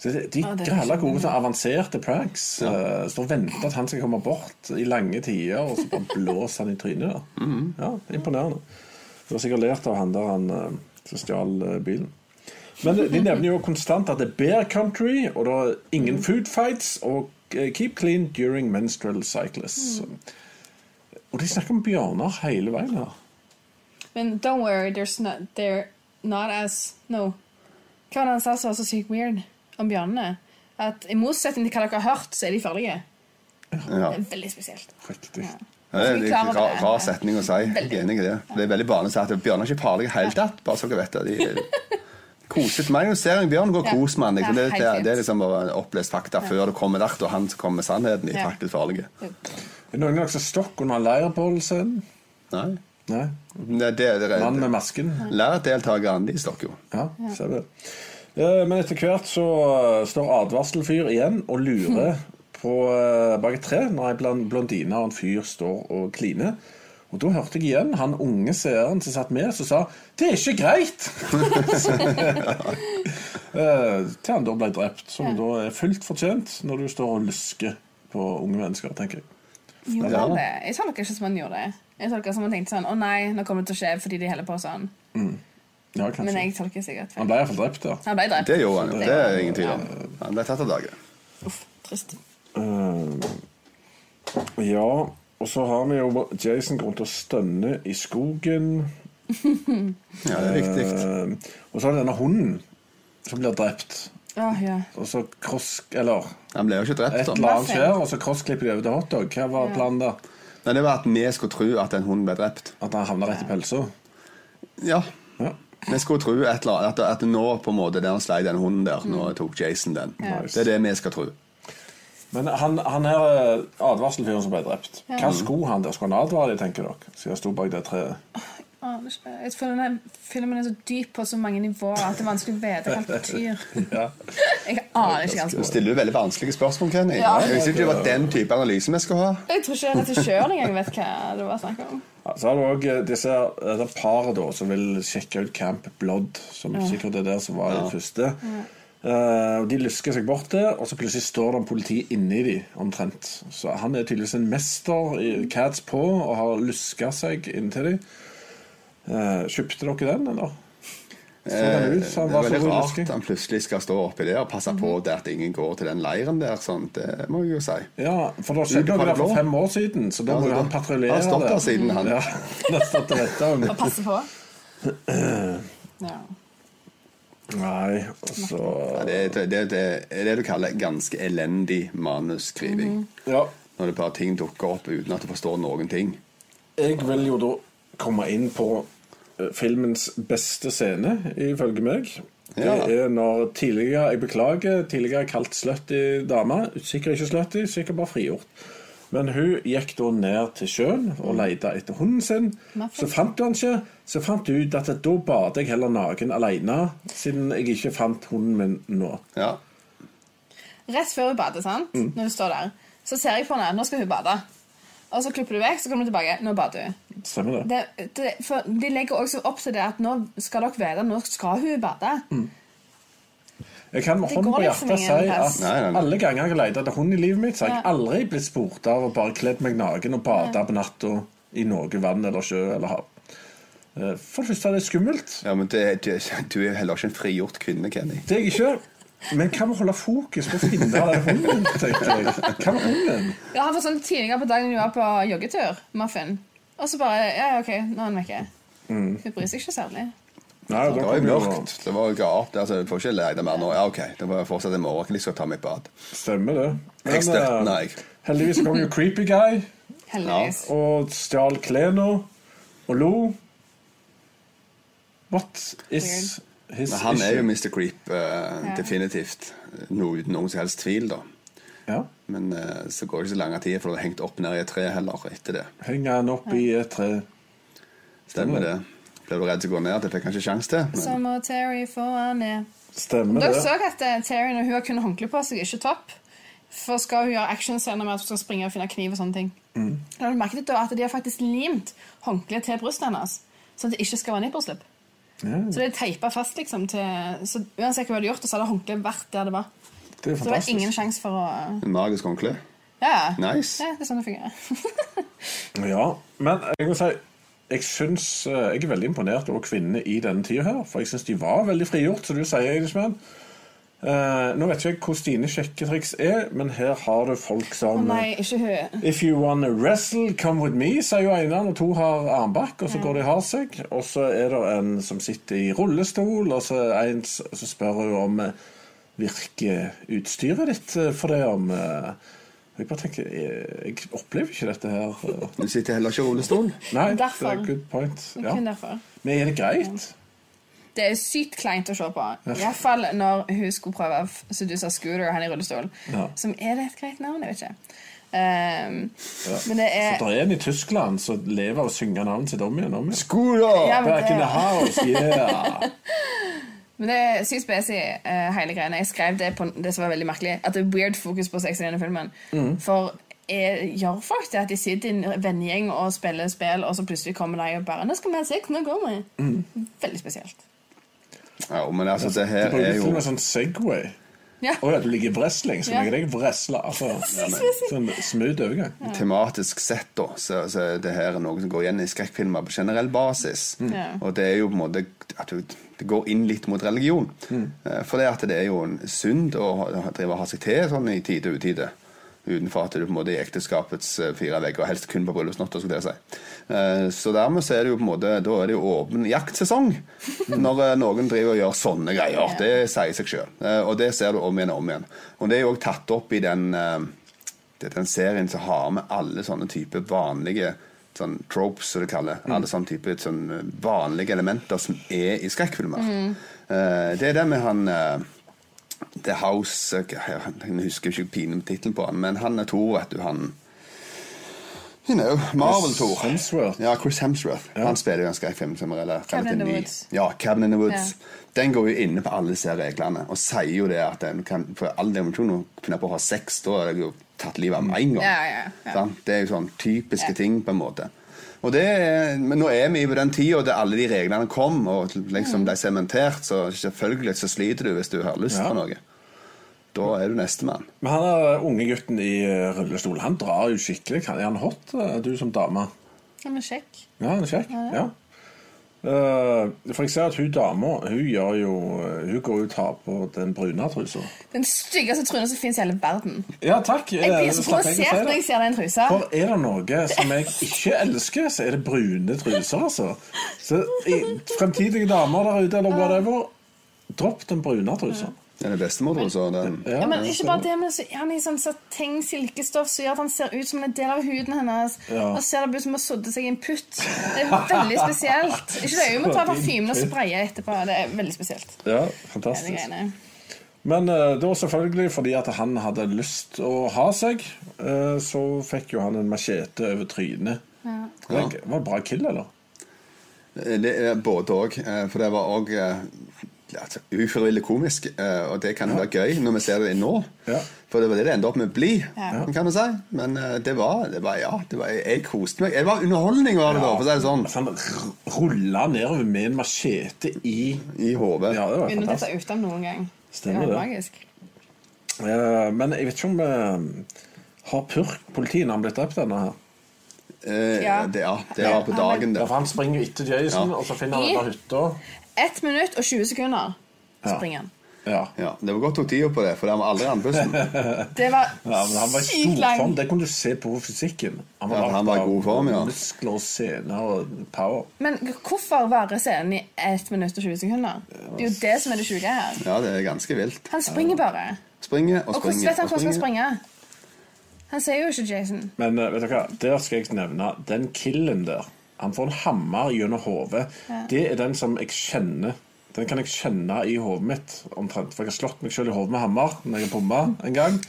Så de de
Ja, det er
græla
ikke-
gode til avanserte pranks. eh, står og venter at han skal komme bort i lange tider, og så bare blåser han i trynet. Da. Ja, det er Imponerende. Du har sikkert lært av han der han eh, som stjal eh, bilen. Men de nevner jo konstant at det er bear country, og det er
Mhm.
ingen food fights, og eh, keep clean during menstrual cycles.
Mhm.
Og de snakker om bjørner hele veien her.
Men don't worry, there's not, they're not as No. Hva var det han sa som var så sykt weird om bjørnene? At i motsetning til hva dere har hørt, så er de farlige.
Ja.
Det er veldig spesielt.
Riktig.
Ja.
Ja, det er
Vi
en
klarer
rar,
det.
rar setning å si. Jeg er enig i det. Det er veldig vanlig å si at bjørner er ikke farlige i det hele tatt. Bare så dere vet det. De koset meg. Jeg ser en bjørn gå og
Ja.
kos med han. Liksom.
Ja,
Det,
helt
det,
fint.
det er liksom bare opplest fakta før du kommer der, og han som kommer med sannheten, de er
Ja.
faktisk farlige.
Er det noen som stokk under leirbålscenen?
Nei.
Nei.
Det, det, det,
Mannen
det.
med masken?
Lærerdeltakerne, de stokker jo.
Ja, ser det. Eh, Men etter hvert så eh, står advarselfyr igjen og
Hmm.
lurer på eh, bak et tre når ei blan- blondine og en fyr står og kliner. Og da hørte jeg igjen han unge seeren som satt med, som sa 'Det er ikke greit!' Eh, Til han da ble drept, som da er fullt fortjent når du står og lusker på unge mennesker, tenker jeg.
Gjorde
Ja.
han det? Jeg tolker ikke som han gjorde det. Jeg tolker som han tenkte sånn Å nei, nå kommer det til å skje fordi de heller på sånn.
Ja, kanskje.
Men jeg tolker sikkert
Han
feil.
ble iallfall drept, ja.
Han ble drept.
Det gjorde han jo.
Så
Det er ingen tvil om. Han ble tatt av dage.
Uff, trist.
Eh, Ehm, ja, og så har vi jo Jason går rundt og stønner i skogen.
Ja, det er viktig.
Eh, og så er det denne hunden som blir drept.
Åh, ja.
Og så cross... Eller
Han ble jo ikke
et
drept.
eller
da.
annet skjer, og så crossklipper de over til hotdog. Hva var planen da?
Nei, det var at vi skulle tro at en hund ble drept.
At han havner rett i pølsa?
Ja.
Ja.
Vi skulle tro et eller annet, at, at nå på en måte der han slei den hunden der, nå tok Jason den. Det er det vi skal tro.
Men han, han her eh, advarselfyren som ble drept, hva skulle han der? Skulle han advare dem, tenker dere? Siden han sto bak det treet.
Åh, det er ikke- Jeg føler denne filmen er så dyp på så mange nivåer at det er vanskelig å vite hva det betyr.
Ja.
Jeg aner ikke hva han
Du stiller jo veldig vanskelige spørsmål, Kenny.
Ja.
Jeg synes ikke det var den type analyse vi skal ha.
Jeg tror ikke regissøren engang vet hva det var snakk om.
Ja, Så har du òg eh, disse dette paret da, som vil sjekke ut Camp Blood, som sikkert er der som var det første. Eh, og De lusker seg bort der, og så plutselig står det en politi inni de omtrent. Så han er tydeligvis en mester i cats på og har luska seg inntil de. Eh, kjøpte dere den, eller? Så den ut, så
Eh, Det
han
er
var
veldig
så god
rart
lusking.
at han plutselig skal stå oppi der og passe på det at ingen går til den leiren der. Sånn. Det må jeg jo si.
Ja, for det
Ut
skjedde
fra det
noe der for
blå.
fem år siden, så da
Ja,
må
så
jo
da-
han patruljere
han har stått
det.
der siden, han.
Ja, han har stått og venta.
Og passe på. Ja.
Nei, og så
Ja, det, det, det, det er det du kaller ganske elendig manusskriving.
Ja.
Når det bare ting dukker opp uten at du forstår noen ting.
Jeg vil jo da komme inn på eh, filmens beste scene, ifølge meg. Det
Ja.
er når tidligere Jeg beklager, tidligere kalt slutty dame. Sikkert ikke slutty, sikkert bare frigjort. Men hun gikk da ned til sjøen og lette etter hunden sin.
Muffins.
Så fant hun han ikke. Så fant hun ut at da bader jeg heller naken alene, siden jeg ikke fant hunden min nå.
Ja.
Rett før hun bader, sant? Når hun står der, så ser jeg på henne. Nå skal hun bade. Og så klipper du vekk, så kommer du tilbake. Nå bader hun.
Stemmer det?
Det, det, for de legger også opp til det at nå skal dere vite når skal hun bade.
Jeg kan med
Det
hånden
går
på
liksom
hjertet si
ingen
at
plass.
Nei, nei, nei.
alle ganger jeg har lett etter hund i livet mitt, så har jeg
Ja.
aldri blitt spurt av å bare kledd meg naken og bade på natta i noe vann eller sjø eller hav. Eh, For det første er det skummelt.
ja, men det, du, du er jo heller ikke en frigjort kvinne, Kenny.
Det er jeg ikke. Men hva med å holde fokus på å finne den hunden? tenkte jeg. Hva med hunden?
Ja, han var sånn tidligere på dagen vi var på joggetur, Muffin. Og så bare Ja, OK, nå er han vekke. Hun bryr seg ikke særlig.
Nei, da
Det var
kom
jo
jo-
mørkt. Det var jo gap. Altså, jeg får ikke leie mer nå. Ja, ok, det var fortsatt en morgen. Jeg skal ta meg et bad.
Stemmer det. Men,
Jeg støtter
eh,
den, jeg.
Heldigvis kom jo Creepy Guy
Heldigvis.
og stjal klærne og lo. What is his
Men han er jo
issue?
Mr. Creep, eh, definitivt. Noe uten noen som helst tvil, da.
Ja.
Men eh, så går det ikke så lang tid, for det har hengt opp ned i et tre heller etter det.
Henger han opp i et tre?
Stemmer det. Ble du redd til å gå ned? Det fikk han ikke sjanse til. Men
Som og Terry får han ned.
Stemmer
Dere
det.
så at eh, Terry, når hun har kun håndkle på seg, ikke topp. For skal hun gjøre actionscener med at hun skal springe og finne kniv og sånne ting.
Mm.
Da har du merket da at de har faktisk limt håndkleet til brystet hennes, sånn at det ikke skal være nipperslipp. Så det er teipa fast, liksom. Til, så uansett hva du hadde gjort, så hadde håndkleet vært der det var.
Det er
Så det var ingen
fantastisk.
sjanse for å
en Magisk håndkle.
Ja, ja.
Nice.
Ja, det er sånn det fungerer.
Ja, men jeg må si jeg, synes, eh, jeg er veldig imponert over kvinnene i denne tida her. For jeg syns de var veldig frigjort, som du sier, Eidesmann. Eh, nå vet ikke jeg hvordan dine sjekketriks er, men her har du folk
Å
som
nei, ikke hun.
If you wanna wrestle, come with me, sier jo Einar, og to har armbakk, og så går de og har seg. Og så er det en som sitter i rullestol, og så, er en, s- så spør hun om eh, virker utstyret ditt eh, for det om eh, Jeg bare tenker, eh, jeg, jeg opplever ikke dette her. eh,
Du sitter heller ikke i rullestol.
Nei,
Derfor.
det er good point. Ja.
Kun derfor.
Men er det greit?
Det er sykt kleint å se på. Iallfall når hun skulle prøve f- Så du sa Scooter, han i rullestol.
Ja.
Som er det et greit navn? Jeg vet ikke. Ehm, Men det er
For det er en i Tyskland som lever av å synge navnet sitt om igjen. Om igjen.
Ja,
Skoda!
men
Back in the
det,
house, yeah!
men det er sykt spesig, eh, hele greiene. Jeg skrev det på det som var veldig merkelig, at det er weird fokus på sex i denne filmen.
Mm.
For eh, gjør folk det at de sitter i en vennegjeng og spiller spill, og så plutselig kommer de og bare 'Nå skal vi ha sex. Nå går vi.'
Mm.
Veldig spesielt.
Ja, men altså, det
Du
her
bruker
er
til
jo
og med sånn Segway.
Ja.
Å ja, du ligger i wrestling, så
Ja.
legger jeg deg wrestle. Altså, sånn smooth overgang.
tematisk sett, da, så, så er det her er noe som går igjen i skrekkfilmer på generell basis.
Ja.
Og det er jo på en måte at du, det går inn litt mot religion. Eh, For det, at det er jo en synd å ha- drive og ha seg til sånn i tide og utide. Utenfor at du på en måte er i ekteskapets eh, fire vegger, og helst kun på bryllupsnatta. skulle jeg si. Eh, Så dermed så er det jo på en måte, da er det jo åpen jaktsesong når eh, noen driver og gjør sånne greier. Det sier seg sjøl. Og det ser du om igjen og om igjen. Og det er jo òg tatt opp i den eh, det er den serien som har med alle sånne type vanlige sånn tropes, som det kaller. Alle sånne type sånn vanlige elementer som er i skrekkfilmer. Eh, det er det med han eh, The House eh, Jeg jeg husker ikke pinen tittelen på han, men han er Thor, vet du. Han You know, Marvel-Thor.
Hemsworth.
Ja, Chris Hemsworth. Han spiller jo en skrekkfilm som er relativt
Cabin in the
ny.
Woods.
Ja, Cabin in the Woods.
Ja.
Den går jo inne på alle disse reglene og sier jo det at en kan for all dimensjon å finne på å ha sex. Da er det jo tatt livet av med en gang.
Ja, ja, ja.
Sant? Det er jo sånn typiske ting, på en måte. Og det, er- men nå er vi på den tida der alle de reglene kom, og
Mm.
liksom ble sementert, så selvfølgelig så sliter du hvis du har lyst
Ja.
på noe. Da er du nestemann.
Men han er unge gutten i eh, rullestol. Han drar jo skikkelig. Han- Er han hot, eh, du som dame?
Ja, men sjekk.
Ja, han er kjekk. Ja. Eh, for jeg ser at hun dama hun, gjør jo, eh, hun går jo og tar på den brune trusa.
Den styggeste trynet som fins i hele verden.
Ja, takk.
Jeg blir så provosert når jeg ser den trusa.
For er det noe som jeg ikke elsker, så er det brune truser, altså. Så i- fremtidige damer der ute, eller whatever, dropp den brune trusa.
Det er det bestemor, tror jeg, så den-
Eh,
Ja, men ikke bare det, men så er han i sånn sateng silkestoff som gjør at han ser ut som en del av huden hennes.
Ja.
Og ser det ut som hun har sodde seg i en putt. Det er veldig spesielt. Ikke det, hun må ta parfymen og spraye etterpå. Det er veldig spesielt.
Ja,
Det er
fantastisk.
greiene.
Men eh, det var selvfølgelig fordi at han hadde lyst å ha seg. eh, så fikk jo han en machete over trynet. Det
Ja.
var det bra kill, eller?
Eh, Det er både òg. For det var òg altså, ufrivillig komisk. eh, Og det kan jo være gøy når vi ser det nå.
Ja.
For det var det det endte opp med å bli.
Ja.
kan vi si. Men eh, det var, det var ja, det var, jeg koste meg. Det var underholdning, var det da, for å si det sånn.
Altså, han rulla nedover med en machete i
I hodet.
Ja, det var
Uten å
fantastisk.
dette utenom noen gang. det.
Stemmer det.
var magisk.
Eh, men jeg vet ikke om eh, Har purk politiet når han ble drept, denne her?
Eh,
Ja.
det, ja, det
Ja,
var på
han-
dagen,
Ja,
det.
for Han springer jo etter Jason,
Ja.
og så finner han
I-
ut av hytta.
1 minutt og 20 sekunder
Ja.
springer han.
Ja.
Ja, det var godt tok tida på det, for han var aldri andpusten.
Det var
Ja, men han var i
sykt
stor form.
langt.
Det kunne du se på fysikken.
Ja,
lagt
han var i
av
god form, ja.
Muskler, og sener og power.
Men hvorfor varer scenen i 1 minutt og 20 sekunder? Det er jo det som er det sjuke her.
Ja, det er ganske vilt.
Han springer bare.
Springer og
Og hvordan
springer.
vet han
og
hvordan han skal
springer.
springe? Han ser jo ikke Jason.
Men eh, vet dere hva, der skal jeg nevne den killen der. Han får en hammer gjennom hodet. Det er den som jeg kjenner. Den kan jeg kjenne i hodet mitt omtrent. For jeg har slått meg selv i hodet med hammer når jeg har bomma en gang.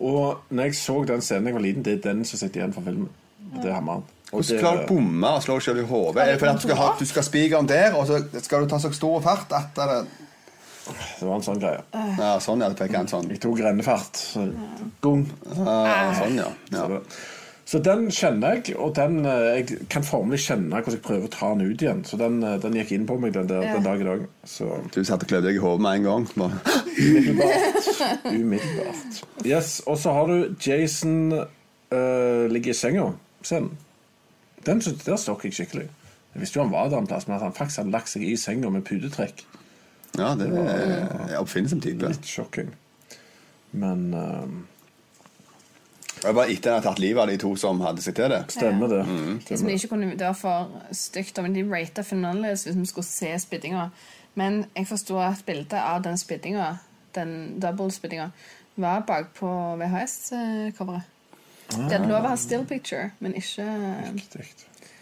Og når jeg så den scenen da jeg var liten, det er den som sitter igjen fra filmen. Det er hammeren. Og
Hvordan
det-
klarer du å bomme og slå deg selv i hodet?
det
Er det fordi at du skal, ha,
kontrollert?
du skal spikeren der, og så skal du ta så stor fart at det
det var en sånn greie.
Ja, sånn, ja. Det fikk han sånn.
Jeg tok rennefart. så- Gung.
Ja, sånn, ja. ja.
Så det- Så den kjenner jeg, og den, eh, jeg kan formelig kjenne hvordan jeg prøver å ta den ut igjen. Så den, eh, den gikk inn på meg den, der, den dag i dag. Så
Du satt og klødde deg i hodet med en gang. Bare.
umiddelbart. umiddelbart. Yes, Og så har du Jason eh, ligger i senga. Scenen. Den synes- der stokk jeg skikkelig. Jeg visste jo han var der en plass, men at han faktisk hadde lagt seg i senga med pudetrekk.
Ja, det er er oppfinnsom type.
Litt sjokking. Men eh,
Det var etter at han hadde tatt livet av de to som hadde seg til det.
stemmer det.
De som ikke kunne, det var for stygt om de ratet filmen annerledes hvis vi liksom skulle se spyddinga. Men jeg forsto at bildet av den spyddinga, den double-spyddinga, var bakpå VHS-coveret. eh, Det hadde lov å ha still picture, men ikke
Riktig.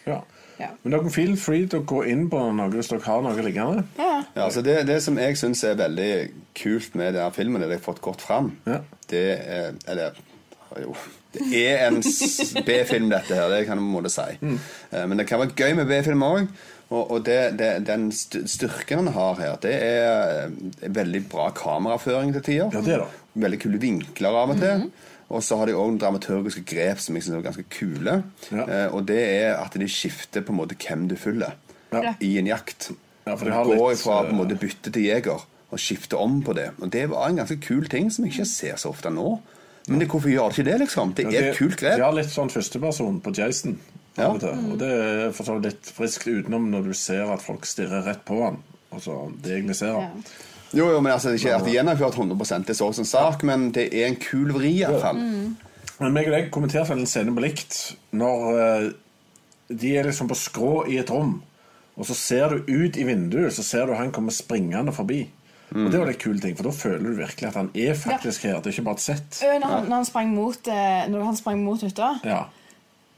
Ja.
Mm. Ja.
Men dere feel free til å gå inn på noe hvis dere har noe liggende.
Ja.
Ja, altså det, det som jeg syns er veldig kult med denne filmen, det jeg har fått godt fram,
Ja.
det er Eller jo Det er en s- B-film, dette her. Det kan jeg på en måte si.
Mm.
Eh, Men det kan være gøy med B-film òg. Og, og det, det, den st- styrken han har her, det er eh, veldig bra kameraføring til tider.
Ja, det er det.
Veldig kule vinkler av og til. Og så har de òg dramaturgiske grep som jeg synes er ganske kule.
Ja.
Eh, og det er at de skifter på en måte hvem du følger
Ja.
i en jakt.
Ja, for de har
Gå
litt,
ifra på en
eh,
måte bytte til jeger og skifte om på det. Og Det var en ganske kul ting som jeg ikke ser så ofte nå. Men det, hvorfor gjør de ikke det, liksom? Det er et kult
De
grep.
har litt sånn førsteperson på Jason.
Ja.
av Og, til. og det er for så vidt litt friskt utenom når du ser at folk stirrer rett på han. Altså, det egentlig ser han.
Jo, jo, men altså, det er ikke at de gjennomført 100 det er så som sak, men det er en kul vri, iallfall.
Mm. Men meg og deg kommenterte vel en scene på likt når eh, de er liksom på skrå i et rom, og så ser du ut i vinduet, så ser du han kommer springende forbi. Og det var litt kule ting, for da føler du virkelig at han er faktisk her. Det er ikke bare et sett.
Ø, Når han, når han sprang mot eh, Når han sprang mot hytta
Ja.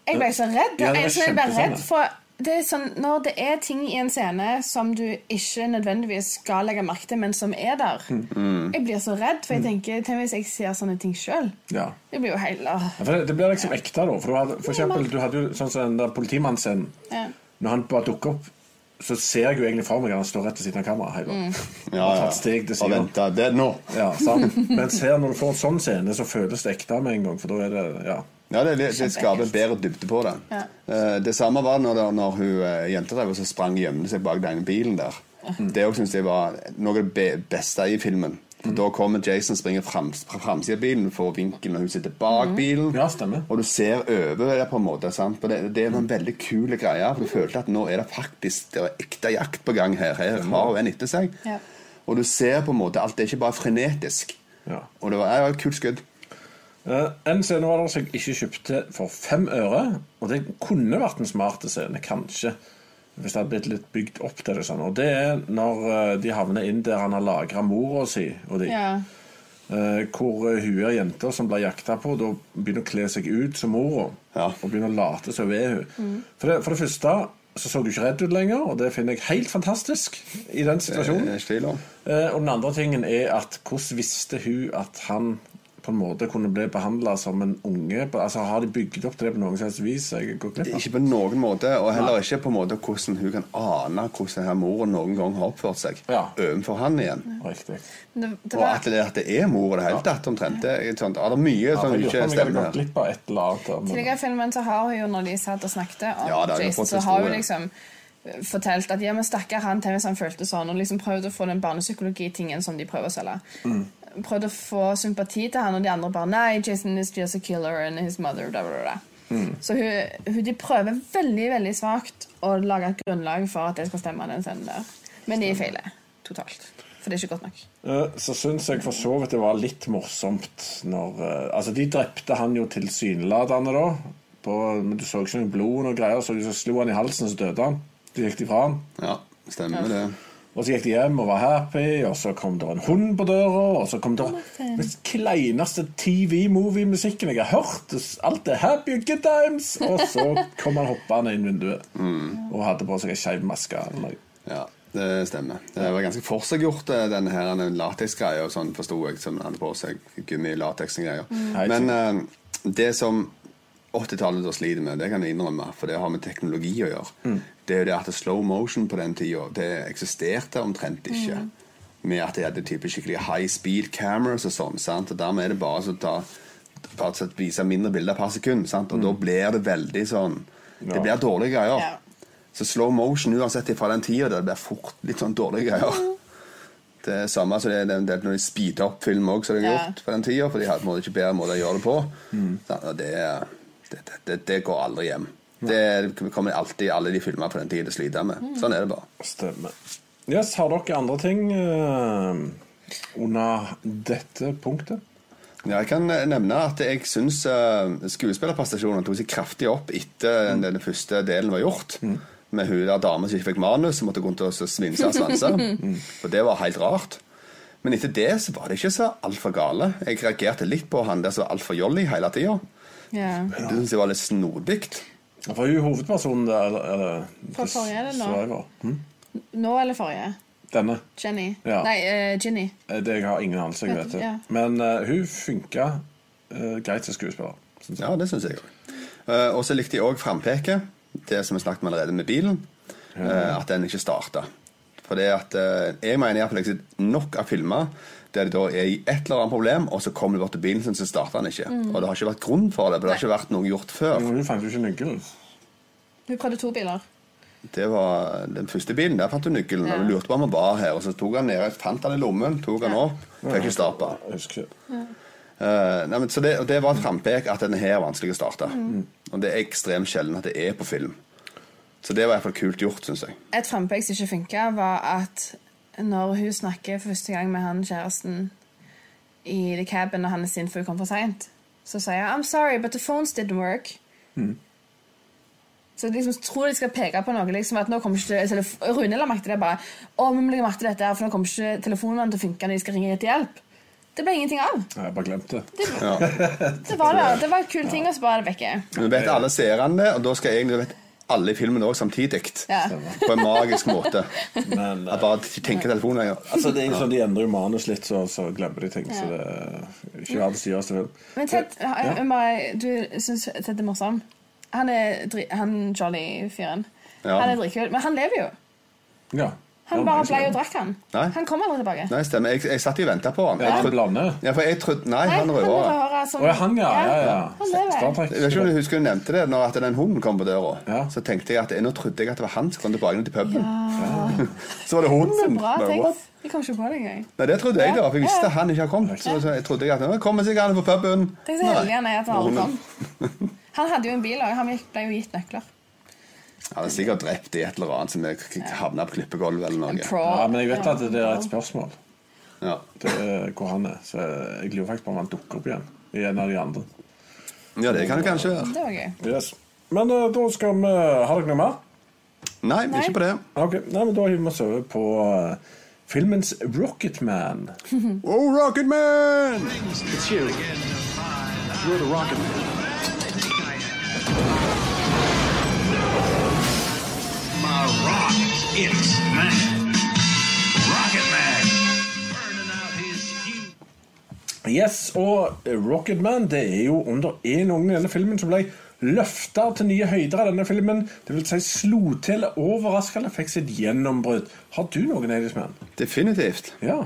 Jeg ble så redd.
Ja, det var
jeg, så jeg ble
kjempescene.
redd for det er sånn, Når det er ting i en scene som du ikke nødvendigvis skal legge merke til, men som er der
Mm,
Jeg blir så redd, for jeg tenker Tenk hvis jeg ser sånne ting sjøl.
ja.
Det blir jo helt åh.
Ja, for det, det blir liksom ekte, da. For, du hadde, for
Ja, men-
eksempel, du hadde jo sånn som den der politimannsscenen.
Ja.
Når han bare dukker opp, så ser jeg jo egentlig for meg at han står rett ved siden av kameraet.
Mm.
hele tiden.
Ja,
Og
ja.
tatt steg til
Og
siden.
venta. Det er nå.
Ja, sant? Mens her, når du får en sånn scene, så føles det ekte med en gang. For da er det Ja.
Ja, det, det, det skaper
Kjempeekkelt.
bedre dybde på det.
Ja.
Eh, det samme var det når, det- når hun eh, jenta drev og så sprang og gjemte seg bak den bilen der.
Mm.
Det også synes jeg var noe av det be- beste i filmen.
Mm.
For Da kommer Jason springer fram, fra framsiden av bilen, får vinkel når hun sitter
Mm.
bak bilen.
Ja, stemmer.
Og du ser over det på en måte. Sant? For Det, det var en veldig kul greie. For du følte at nå er det faktisk det er ekte jakt på gang her. Her
Mm.
har hun en etter seg.
Ja.
Og du ser på en måte alt. Det er ikke bare frenetisk.
Ja.
Og det var, ja, det var et kult skudd.
Eh, En scene var det som jeg ikke kjøpte for fem øre. Og det kunne vært en smart scene, kanskje. Hvis det hadde blitt litt bygd opp til det. sånn Og det er når eh, de havner inn der han har lagra mora si og de.
Ja.
Eh, hvor eh, hun er jenta som blir jakta på, da begynner å kle seg ut som mora.
Ja.
Og begynner å late som hun er hun. For, det, for det første, så så du ikke redd ut lenger, og det finner jeg helt fantastisk i den situasjonen.
Eh, Stiler.
Eh, og den andre tingen er at hvordan visste hun at han på en måte kunne bli behandla som en unge? Altså Har de bygd opp det på noen slags vis? Jeg går glipp av.
Ikke på noen måte, og heller ikke på en måte hvordan hun kan ane hvordan her moren noen gang har oppført seg
Ja.
overfor han igjen.
Riktig.
Det, det
Og at
var,
Mm. det, at det er mor i det hele tatt, omtrent. Det er, sånt, er det mye
Ja,
som
jeg
ikke
lurer på om jeg hadde
stemmer
gått
her.
glipp av et eller annet. der, men-
tidligere i filmen så har hun jo, når de satt og snakket om
Ja, det har jo
Jason,
fått
så har hun
historie.
liksom eh, fortalt at ja, men stakkar han til hvis han følte sånn, og liksom prøvd å få den barnepsykologitingen som de prøver å selge.
Mm.
Prøvd å få sympati til han, og de andre bare Nei, Jason is just a killer and his mother da, da, da.
Mm.
Så hun, hun, de prøver veldig veldig svakt å lage et grunnlag for at det skal stemme, den scenen der. Men de feiler totalt. For det er ikke godt nok.
Eh, Så syns jeg for så vidt det var litt morsomt når eh, Altså, de drepte han jo tilsynelatende, da. På, men du så ikke noe blod og greier. Så, så slo han i halsen, så døde han. Så gikk de fra han.
Ja, stemmer det.
Og så gikk de hjem og var happy, og så kom det en hund på døra, og så kom det den kleineste TV-movie-musikken jeg har hørt. Alt er happy and good times! Og så kom han hoppende inn vinduet og hadde på seg ei skeiv maske. eller noe.
Ja, det stemmer. Det var ganske forseggjort, eh, denne her denne lateksgreia, og sånn forsto jeg, som han hadde på seg. Gummi, lateks og greier.
Helt
Men eh, det som 80-tallet da sliter med, det kan jeg innrømme, for det har med teknologi å gjøre, det er jo det at slow motion på den tida, det eksisterte omtrent ikke. Med at de hadde type skikkelig high speed cameras og sånn. sant? Og dermed er det bare så å ta bare så vise mindre bilder per sekund. sant? Og da blir det veldig sånn Det blir dårlige greier.
Ja.
Så slow motion, uansett fra den tida, det blir fort litt sånn dårlige greier. Det er samme som det er den- det er når de speeder opp film òg, som de har
Mm. Ja.
gjort på den tida. For de hadde på en måte ikke bedre måte å gjøre det på. Så, og det, er- det, det, det, det går aldri hjem. Det kommer alltid i alle de filmer på den tida det sliter med.
Mm.
Sånn er det bare.
Stemmer. Yes, har dere andre ting eh, under dette punktet?
Ja, jeg kan eh, nevne at jeg syns uh, skuespillerprestasjonene tok seg kraftig opp etter den, den første delen var gjort. Med hun der dama som ikke fikk manus, som måtte gå rundt og så svinse og svanse. For det var helt rart. Men etter det så var det ikke så altfor gale. Jeg reagerte litt på han der som var altfor jolly hele tida.
Ja.
Det syns jeg var litt snodig.
For hun hovedpersonen der eller, eller,
Fra forrige, eller nå?
Survivor. Hm?
Nå eller forrige?
Denne.
Jenny.
Ja.
Nei, eh, Ginny.
Eh, Det jeg har ingen anelse, jeg
Vet
vet
du,
det.
ja.
Men eh, hun funka eh, greit som skuespiller. synes jeg.
Ja, det syns jeg òg. Eh, og så likte jeg òg frampeket. Det som vi snakket om allerede med bilen. eh, at den ikke starta. For det at eh, jeg mener iallfall jeg har sett nok av filmer der det da er i et eller annet problem, og så kommer det bort til bilen sin, så starter den ikke.
Mm.
Og det har ikke vært grunn for det, for det har ikke vært noe gjort før.
Men Hun fant jo ikke nøkkelen.
Hun prøvde to biler.
Det var den første bilen. Der fant du nøkkelen.
Ja.
Og du lurte på om han var her, og så tok han ned, fant han i lommen, tok han
Ja.
opp, fikk ikke starta.
Jeg husker ikke.
Eh, nei, men, så det, og det var et frampek at den her er vanskelig å starte. Og det er ekstremt sjelden at det er på film. Så det var i hvert fall kult gjort, syns jeg.
Et frampek som ikke funka, var at når hun snakker for første gang med han kjæresten i the cabin, og han er sint for hun kom for seint, så sier han 'I'm sorry, but the phones didn't work'. Så jeg liksom tror de skal peke på noe. liksom at nå kommer ikke telef- Rune la merke til det bare. å, vi må legge merke til dette her, for nå kommer ikke telefonene til å funke når de skal ringe etter hjelp. Det ble ingenting av.
Nei, Jeg bare glemte det.
Det var det. Det var en kul ting, og så bare er det vekke.
Men vet alle seerne det, og da skal egentlig vet alle i filmen òg samtidig.
Ja.
På en magisk måte.
Men, eh,
At bare de tenker telefonen lenger.
altså, det er jo sånn, De endrer jo manus litt, så, så glemmer de ting. Så det er ikke verdens dyreste film.
Men Ted,
Eh,
jeg- Mari, du syns Ted er morsom? Han er dri- han jolly-fyren.
Ja.
Han er dritkul, men han lever jo.
Ja.
Han
Ja,
bare
men-
ble og drakk, han.
Nei.
Han kom aldri tilbake.
Nei, stemmer. Jeg, jeg satt jo og venta på han.
Ja,
Jeg
han
trodde,
blander.
ja, for jeg trodde, nei,
Nei,
han rødhåra.
rødhåra som
Å ja, han, ja. ja, ja.
sånn- Han lever.
Jeg vet ikke om du husker du nevnte det når at den hunden kom på døra.
Ja.
Så tenkte jeg at nå trodde jeg at det var han som kom tilbake til puben. Så var det hunden.
Så bra
Bare, what?
tekst. Jeg kom ikke på det engang.
Nei, det trodde jeg, da. For jeg visste
Ja.
at han ikke har kommet. Så så jeg trodde jeg at nå kommer sikkert han på puben.
Tenk så heldig han er at han aldri kom. Han hadde jo en bil òg. Han gikk- ble jo gitt nøkler.
Han er sikkert drept i et eller annet som er k- havna på klippegulvet eller
En
noe.
pro.
Ja, men jeg vet at det er et spørsmål
Ja.
det er eh, hvor han er. Så jeg lurer faktisk på om han dukker opp igjen i en av de andre.
ja, det kan det kanskje være.
Det var gøy.
Yes. Men eh, da skal vi Har dere noe mer?
Nei,
Nei.
ikke på det.
Ok, Nei, men Da hiver vi oss over på eh, filmens Rocketman.
Oh, Rocketman!
a rock. It's man. Rocket Man. Burning out his fuse.
Yes, og Rocketman det er jo under én unge i denne filmen som ble løfta til nye høyder av denne filmen. Det vil si slo til overraskende, fikk sitt gjennombrudd. Har du noen Eidsmann?
Definitivt.
Ja.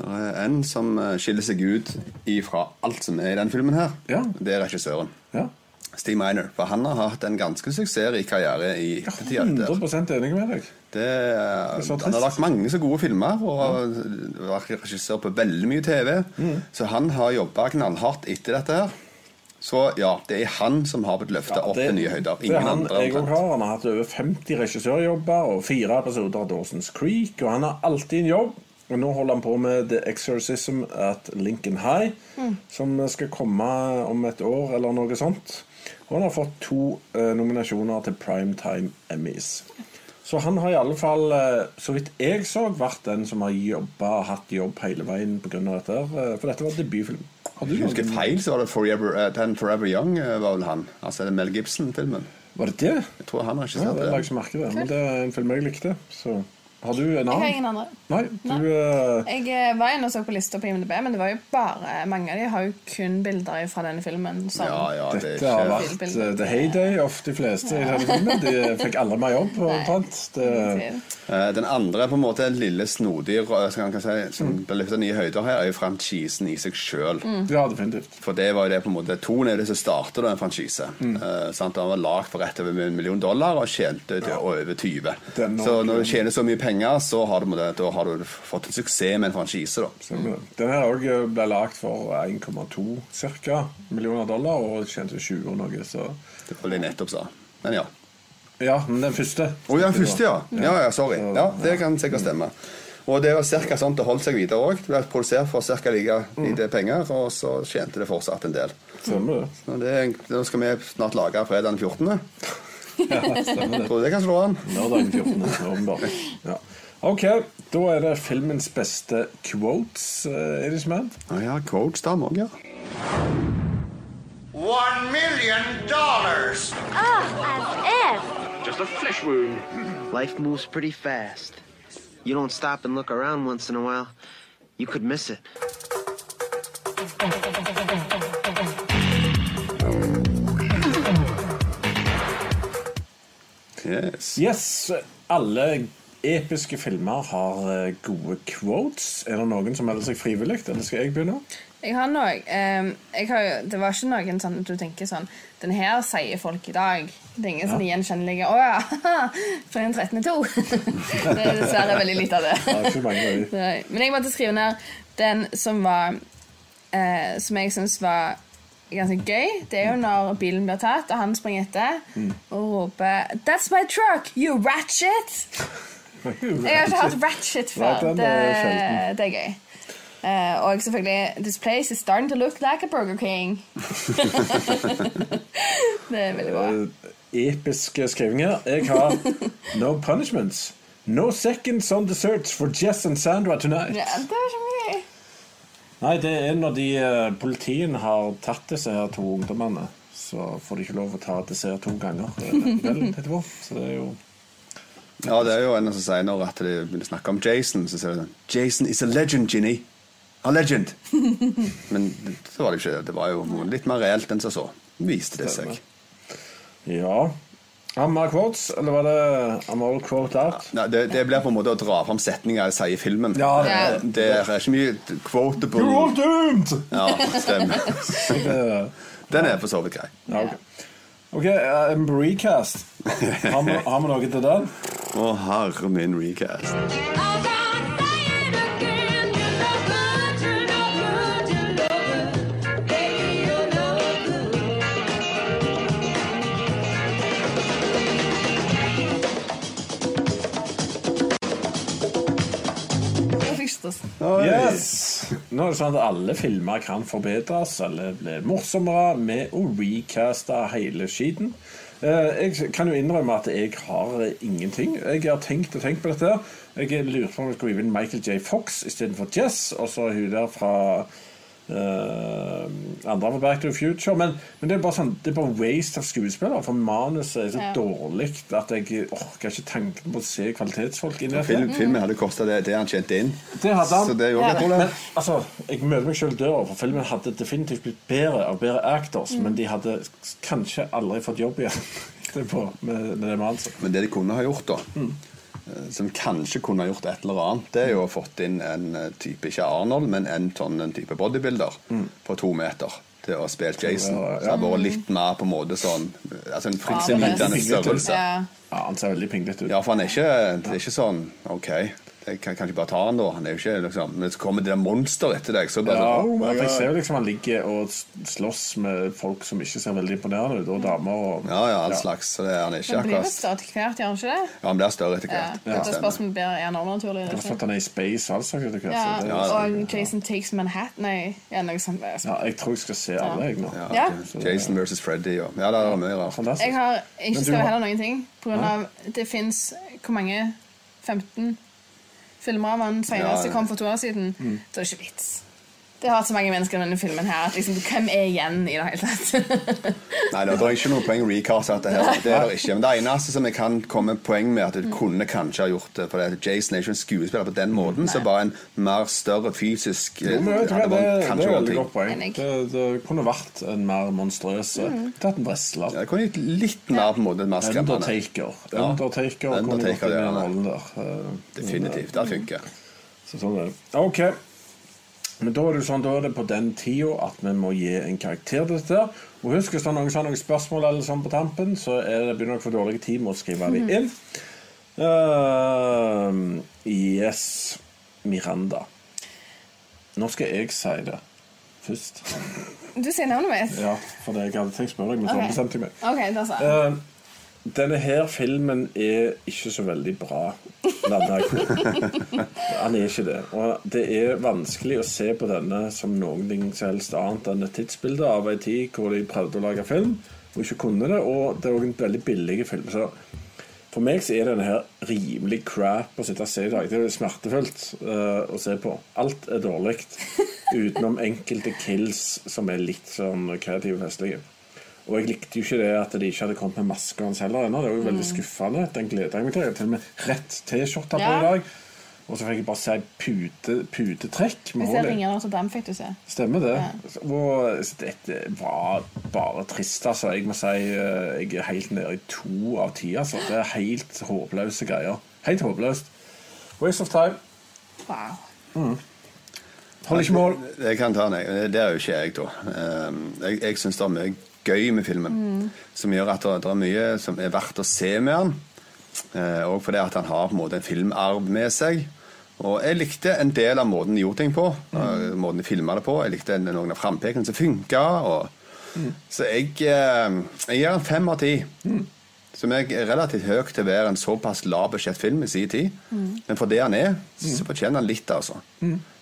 Det er en som eh, skiller seg ut ifra alt som er i den filmen her.
Ja.
Det er regissøren.
ja.
Steve Miner. For han har hatt en ganske suksessrik karriere i ettertid.
Jeg er
av altså. dette.
100 enig med deg.
Det, eh,
så
han
trist.
har lagt mange så gode filmer og har vært regissør på veldig mye TV.
Mm.
Så han har jobba knallhardt etter dette her. Så ja, det er han som har blitt løfta opp til nye høyder.
det er
Ingen
han,
andre.
jeg og
omtrent.
har, han har hatt over 50 regissørjobber og fire episoder av Dawson's Creek, og han har alltid en jobb. Og nå holder han på med The Exorcism at Lincoln High, som skal komme om et år eller noe sånt. Og han har fått to eh, nominasjoner til Primetime Emmys. Så han har i alle fall, eh, så vidt jeg så, vært den som har jobba og hatt jobb hele veien pga. dette. her, eh, For dette var debutfilm. Har du
Hvis jeg husker
noen-
feil, så var det Forever, eh, den Forever Young eh, var vel han. Altså det er Mel Gibson-filmen.
Var det det?
Jeg tror han
Ja, det
regisserte
la jeg
den.
ikke merke det, men det er en film jeg likte. Så har du
Jeg
en
har ingen andre.
annen? Nei, du eh,
Jeg eh, var inne og så på lista på IMDb, men det var jo bare mange av de har jo kun bilder fra denne filmen. Som,
Ja, ja, det er
Dette har
ikke
vært eh, the heyday of de fleste i denne filmen. De fikk alle med jobb, omtrent. Det-
Eh, Den andre på en måte den lille snodige rø- som, man kan si, som
Mm.
blir løfta nye høyder her, er jo franchisen i seg sjøl.
Ja, definitivt.
For det var jo det på en måte Toen er jo det som starter da en franchise. Eh, sant? Den var lagd for rett over en million dollar og tjente til over 20.
Det er enormt.
Så når du tjener så mye penger, så har du, på en måte- da har du fått en suksess med en franchise. da
Stemmer
Mm.
det. Den her òg ble lagd for eh, 1,2 cirka, millioner dollar og tjente 20 og noe, så
Det var det jeg nettopp sa. Men ja.
Ja, men den første.
Å ja, den første, ja. Ja, ja, sorry. Ja, Det kan sikkert stemme. Og det var cirka sånn det holdt seg videre òg. Det ble produsert for ca. like lite penger, og så tjente det fortsatt en del.
Stemmer det.
Nå, det, nå skal vi snart lage fredag den 14. Tror du det kan slå an?
Lørdag den 14. november. Ja. OK, da er det filmens beste quotes, eh, er det som er?
Å ja, coach da, òg, ja.
One million dollars.
Just a flesh wound.
Life moves pretty fast. You don't stop and look around once in a while, you could miss it.
Yes.
Yes, alle episke filmer har eh, gode quotes. Er det noen som melder seg frivillig? Eller skal jeg begynne?
Jeg har noe ehm, jeg har, jo- Det var ikke noen sånn at du tenker sånn Den her sier folk i dag. Det er ingen sånn gjenkjennelige Å ja, fra den 13. to. det er dessverre veldig lite av det.
Ja, ikke mange av de.
Nei, Men jeg måtte skrive ned den som var eh, Som jeg syns var ganske gøy. Det
Mm.
er jo når bilen blir tatt, og han springer etter og roper 'That's my truck, you ratchet!' Jeg har ikke hørt ratchet før.
Nei, den
det,
er sjelden.
det er gøy. Eh, og selvfølgelig 'This place is starting to look like a Burger King'. det er veldig bra.
Eh, Episke skrivinger. Jeg har No Punishments. No seconds on the search for Jess and Sandra tonight.
Ja, det er var kjempegøy.
Nei, det er når de eh, politien har tatt disse her to ungdommene. Så får de ikke lov å ta dessert to ganger eh, kvelden etterpå. Så det er jo
Ja, det er jo en som sier når at de begynner å snakke om Jason, så sier de sånn Jason is a legend, Ginny. A legend. Men det, så var det ikke det. Det var jo noe litt mer reelt enn som så. Viste det seg.
Ja. Amar quotes, eller var det Amar quote out?
Nei, det, det blir på en måte å dra fram setninger jeg sier i filmen.
Ja, det
er-
det er ikke mye quotable
You're all doomed!
Ja, stemmer. Den er for så vidt grei.
Ja, ok, Ok, eh, en recast. Har vi har vi noe til den?
Å, herre min recast.
Jeg fikk stress.
Yes! Nå er det sånn at alle filmer kan forbedres eller bli morsommere med å recaste hele skiten. Eh, Jeg kan jo innrømme at jeg har ingenting. Jeg har tenkt og tenkt på dette. Jeg lurer på om jeg skulle hive inn Michael J. Fox istedenfor Jess, og så er hun der fra eh, andre på Back to the Future. Men, men det er bare sånn Det er bare waste av skuespillere, for manuset er så
Ja.
dårlig at jeg orker ikke tanken på å se kvalitetsfolk inn i dette.
Film, filmen hadde kosta det, det han tjente inn.
Det hadde han.
Så det er jo ikke et problem.
Men altså, jeg møter meg selv døra, for filmen hadde definitivt blitt bedre av bedre actors, men de hadde kanskje aldri fått jobb igjen etterpå med, med det manuset.
Men det de kunne ha gjort, da
Mm.
eh, Som kanskje kunne ha gjort et eller annet, det er jo å ha fått inn en eh, type Ikke Arnold, men en sånn en type bodybuilder på to meter til å spille Jason.
Mm. Ja, ja.
Så det hadde vært litt mer på en måte sånn eh, Altså en fritidsidende
Ja, det er-
størrelse.
Ja.
Ja, han ser veldig pinglete ut.
Ja, for han er ikke, det er ikke sånn OK, jeg kan, kan ikke bare ta han da. Han er jo ikke liksom Men så kommer det der monsteret etter deg, så bare
Ja,
sånn, oh my
at jeg ser
god.
jo liksom han ligger og s- slåss med folk som ikke ser veldig imponerende ut, og damer og
Ja, ja, all slags. Så det er han er ikke
Den blir vel
akkurat.
større etter hvert, gjør den ikke det?
Ja, han blir større etter
Ja.
hvert.
Det er spørsmål om det blir er normnaturlig.
Det er også at han er i space, altså. etter hvert,
Ja,
så det er-
og Jason Takes Manhattan Nei, ja, noe sånt.
ja, jeg tror jeg skal se alle, jeg nå.
Ja.
Ja. Jason versus Freddy og Ja, det er mye rart.
Fantastisk.
Jeg har ikke
Men du
skrevet
har-
heller noen ting. På grunn av det fins hvor mange 15 filmer av han senere
Ja, ja.
som kom for to år siden.
Mm.
Så det er ikke vits. Det har så mange mennesker i denne filmen her at liksom, hvem er igjen i det hele tatt?
Nei, det er ikke noe poeng å recaste dette her. Det er det ikke. Men det eneste som jeg kan komme med poeng med, at du kunne kanskje ha gjort det, for det er at Jason er ikke en skuespiller på den måten, så bare en mer større fysisk
Jo, men jeg tror
hadde
det,
vært-
det,
kanskje
er
vært
veldig
ting.
godt poeng.
Enig. Mm.
Det, det kunne vært en mer monstrøs eh, Tatt en wrestler.
Ja, det kunne gitt litt mer på en måte mer skremmende.
Undertaker.
Ja.
Undertaker kunne
Undertaker,
gått inn i
det er
den
det.
rollen der. Eh,
Definitivt. Det funker.
Så sånn er det. Ok. Men da er det jo sånn, da er det på den tida at vi må gi en karakter til dette. her. Og husk, hvis det er noen, sånn, noen spørsmål eller sånn på tampen, så er det begynner dere å få dårlig tid med å skrive dem inn. Ehm, yes, Miranda. Nå skal jeg si det først.
Du sier navnet mitt.
Ja, for det jeg hadde tenkt å spørre deg, men så
Ok.
ombestemte jeg meg.
OK, da sa jeg.
Eh, denne her filmen er ikke så veldig bra. lander jeg på. Han er ikke det. Og det er vanskelig å se på denne som noe som helst annet enn et tidsbilde av ei tid hvor de prøvde å lage film og ikke kunne det. Og det er òg en veldig billig film. Så for meg så er denne her rimelig crap å sitte og se i dag. Det er jo smertefullt eh, å se på. Alt er dårlig utenom enkelte kills som er litt sånn kreative og festlige. Og jeg likte jo ikke det at de ikke hadde kommet med masker hans heller ennå. Det var jo veldig skuffende. Den gleder jeg meg til. Jeg har til og med rett T-skjorte på
Ja.
i dag. Og så fikk jeg bare se pute, putetrekk med
Hvis jeg
hull i.
ringer Notre Dame, fikk du se.
Stemmer det.
Ja.
Og så dette var bare trist, altså. Jeg må si eh, jeg er helt nede i to av ti. Altså. Det er helt håpløse greier. Helt håpløst. Waste of time.
Wow.
Holder ikke mål.
Jeg kan ta den, jeg. Det er jo ikke jeg, da. Ehm, Jeg, jeg syns det er mye gøy med filmen. Som gjør at det, det er mye som er verdt å se med han. Eh, Og fordi at han har på en måte en filmarv med seg. Og jeg likte en del av måten de gjorde ting på. eh, Måten de filma det på. Jeg likte en- noen av frampekene som funka. Og...
Mm.
Så jeg, eh, jeg gir en fem av ti. Som jeg er relativt høy til å være en såpass lav budsjettfilm i sin tid. Men for det han er, så fortjener han litt, altså.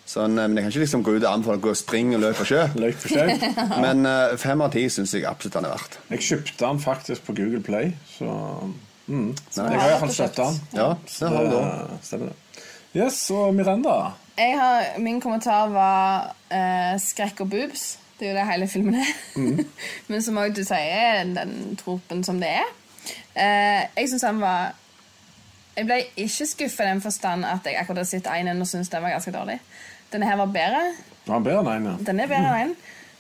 Sånn, eh, men jeg kan ikke liksom gå ut og anbefale å gå og springe og løpe på sjø.
Løk for seg.
Men eh, fem av ti syns jeg absolutt han er verdt.
Jeg kjøpte den faktisk på Google Play, så mm. Jeg har
har
iallfall
dere
støtta den.
Ja,
Så
det har vi da.
det stemmer, det. Yes, og Miranda.
Jeg har, min kommentar var eh, skrekk og boobs. Det er jo det hele filmen er. Men som òg du sier, den tropen som det er. Eh, jeg syns han var Jeg ble ikke skuffa i den forstand at jeg akkurat har sett Einen og syns den var ganske dårlig. Denne her var bedre.
Var han bedre enn en? ja?
Den er bedre enn Einen.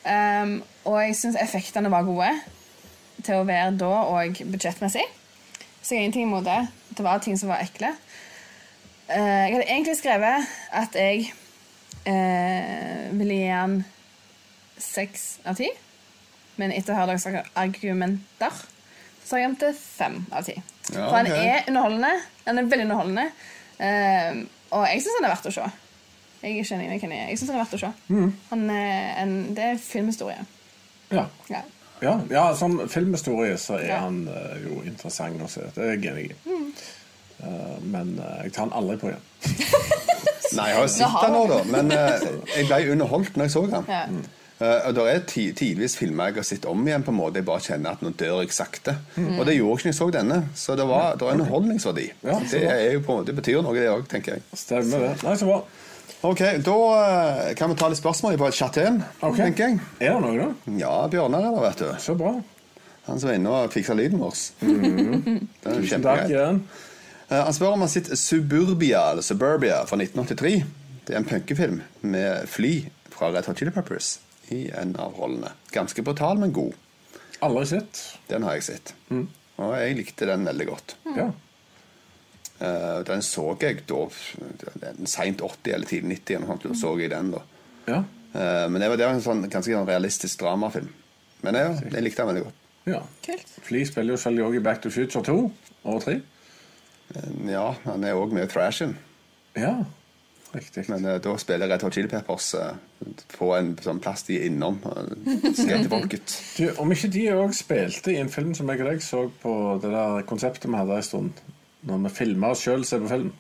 Um, og jeg syns effektene var gode til å være da og budsjettmessig. Så jeg har ingenting imot det. Det var ting som var ekle. Eh, jeg hadde egentlig skrevet at jeg eh, ville gi han seks av ti. Men etter å ha hørt deres argumenter, så har jeg gitt det fem av ti.
Ja,
For han
ok.
er underholdende. Han er veldig underholdende. Eh, og jeg syns han er verdt å se. Jeg er ikke enig med Kenny. Jeg syns han er verdt å se.
Mm.
Han er en, det er filmhistorie.
Ja.
Ja.
Ja, ja som filmhistorie så er
Ja. Mm.
han eh, jo interessant å se. Det er jeg enig i. Eh, men eh, jeg tar han aldri på igjen.
Nei, jeg har jo
Nå
sett
har
den nå,
vi
da. Men eh, jeg ble underholdt når jeg så den.
Ja.
Eh, og Det er ti tidvis filmer jeg har sett om igjen, på en måte jeg bare kjenner at nå dør jeg sakte. Og det gjorde jeg ikke når jeg så denne, så det var det er underholdningsverdi.
Ja, så
det, er jo på en måte, det betyr noe, det òg, tenker jeg.
Stemmer det. Nei, så bra.
Ok, Da eh, kan vi ta litt spørsmål på chatten,
Ok.
tenker jeg.
Er det noe, da?
Ja, Bjørnar er der, vet du.
Så bra.
Han som var inne og fiksa lyden vår. Det er
Mhm. Tusen takk
kjempegreit.
igjen.
Eh, Han spør om han sitt Suburbia, eller Suburbia fra 1983. Det er en punkefilm med fly fra Red Hot Chili Peppers i en av rollene. Ganske brutal, men god.
Aldri sett.
Den har jeg sett.
Mm.
Og jeg likte den veldig godt.
Mm.
Ja.
Eh, Den så jeg da seint 80 eller tidlig 90, eller noe sånt. Da så jeg den da.
Ja.
Eh, Men det var, det var en sånn, ganske sånn realistisk dramafilm. Men jeg, jeg likte den veldig godt.
ja.
Kult.
Fly spiller jo selv også i Back to Future 2 og 3.
Ja, han er òg med thrashen.
Ja. Riktig.
Men eh, da spiller Red Hot Chili Peppers eh, på en sånn plass de er innom. eh, Skal til folket.
Du, om ikke de òg spilte i en film som jeg og deg så på det der konseptet vi hadde en stund, når vi filma oss sjøl se på film.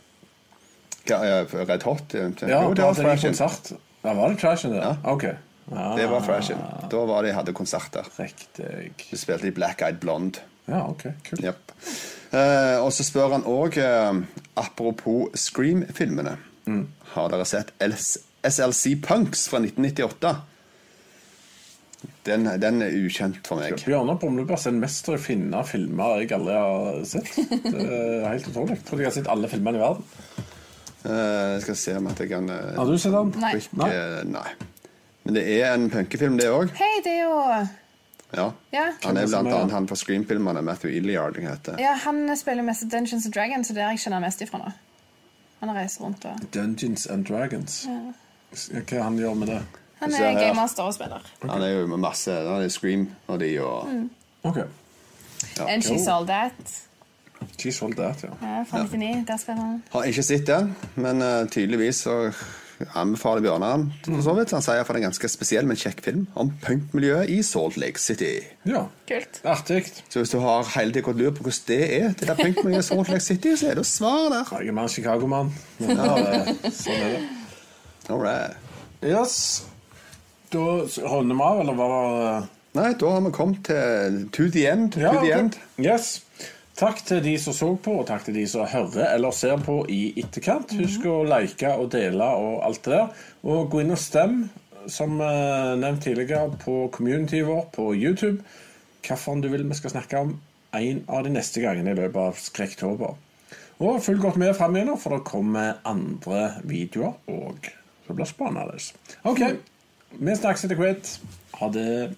Hva, eh, Red Hot? eh,
Ja,
jo,
det
det var
hadde de
thrashen.
konsert. Ah. Ja, var det Thrashen der?
Ja.
Ok. Ja,
Det var thrashen. Da var de hadde konsert der.
Riktig.
De spilte i Black Eyed Blonde.
Ja, ok. Kult.
Jep. Eh, og så spør han òg, apropos Scream-filmene
Mm.
Har dere sett LS SLC Punks fra 1998? Den, den er ukjent for meg.
Bjørnar Brumleberg er en mester i å finne filmer jeg aldri har sett. Det er helt utrolig. Jeg tror jeg har sett alle filmene i verden.
Eh, jeg skal se om at jeg kan eh,
Har du sett den?
Nei.
trykke- nei. Men det er en punkefilm, det òg.
Hei, det er jo
Ja.
Ja.
Han er
Hvem er det som eh,
blant
er
annet
det?
han fra Scream-filmene, Matthew Iliard. han heter.
Ja, han spiller mest i Dungeons and Dragons, så det er jeg kjenner mest ifra nå. Han reiser rundt og
Dungeons and Dragons. Hva han gjør med det?
Han
Se
er
her.
gamemaster og spiller.
Han er jo med masse Han er Scream og de og
Mm.
Ok.
And She's
jo.
All That
She's all that, ja.
ja, fra 99. Der spiller han.
Har ikke sett den, men eh, tydeligvis så anbefaler Bjørnar den. for så vidt. Han sier for en ganske spesiell, men kjekk film om punkmiljøet i Salt Lake City.
ja.
Kult.
Artig.
Så hvis du har hele tiden gått lur på hvordan det er, det der punkmiljøet i Salt Lake City, så er det svar der.
Jeg er mer en Chicago-mann. men, eh, Sånn er det.
All right.
Yes. Da runder vi av, eller var det eh,
Nei, da har vi kommet til to the end. To
Ja,
the
ok.
end.
Yes. Takk til de som så på, og takk til de som hører eller ser på i etterkant. Husk å like og dele og alt det der. Og gå inn og stem, som eh, nevnt tidligere, på communityet vårt på YouTube. Hvilken du vil vi skal snakke om en av de neste gangene i løpet av Skrekktober. Og følg godt med fram igjennom, for det kommer andre videoer òg. Så det blir spennende. OK. Vi snakkes etter hvert. Ha det.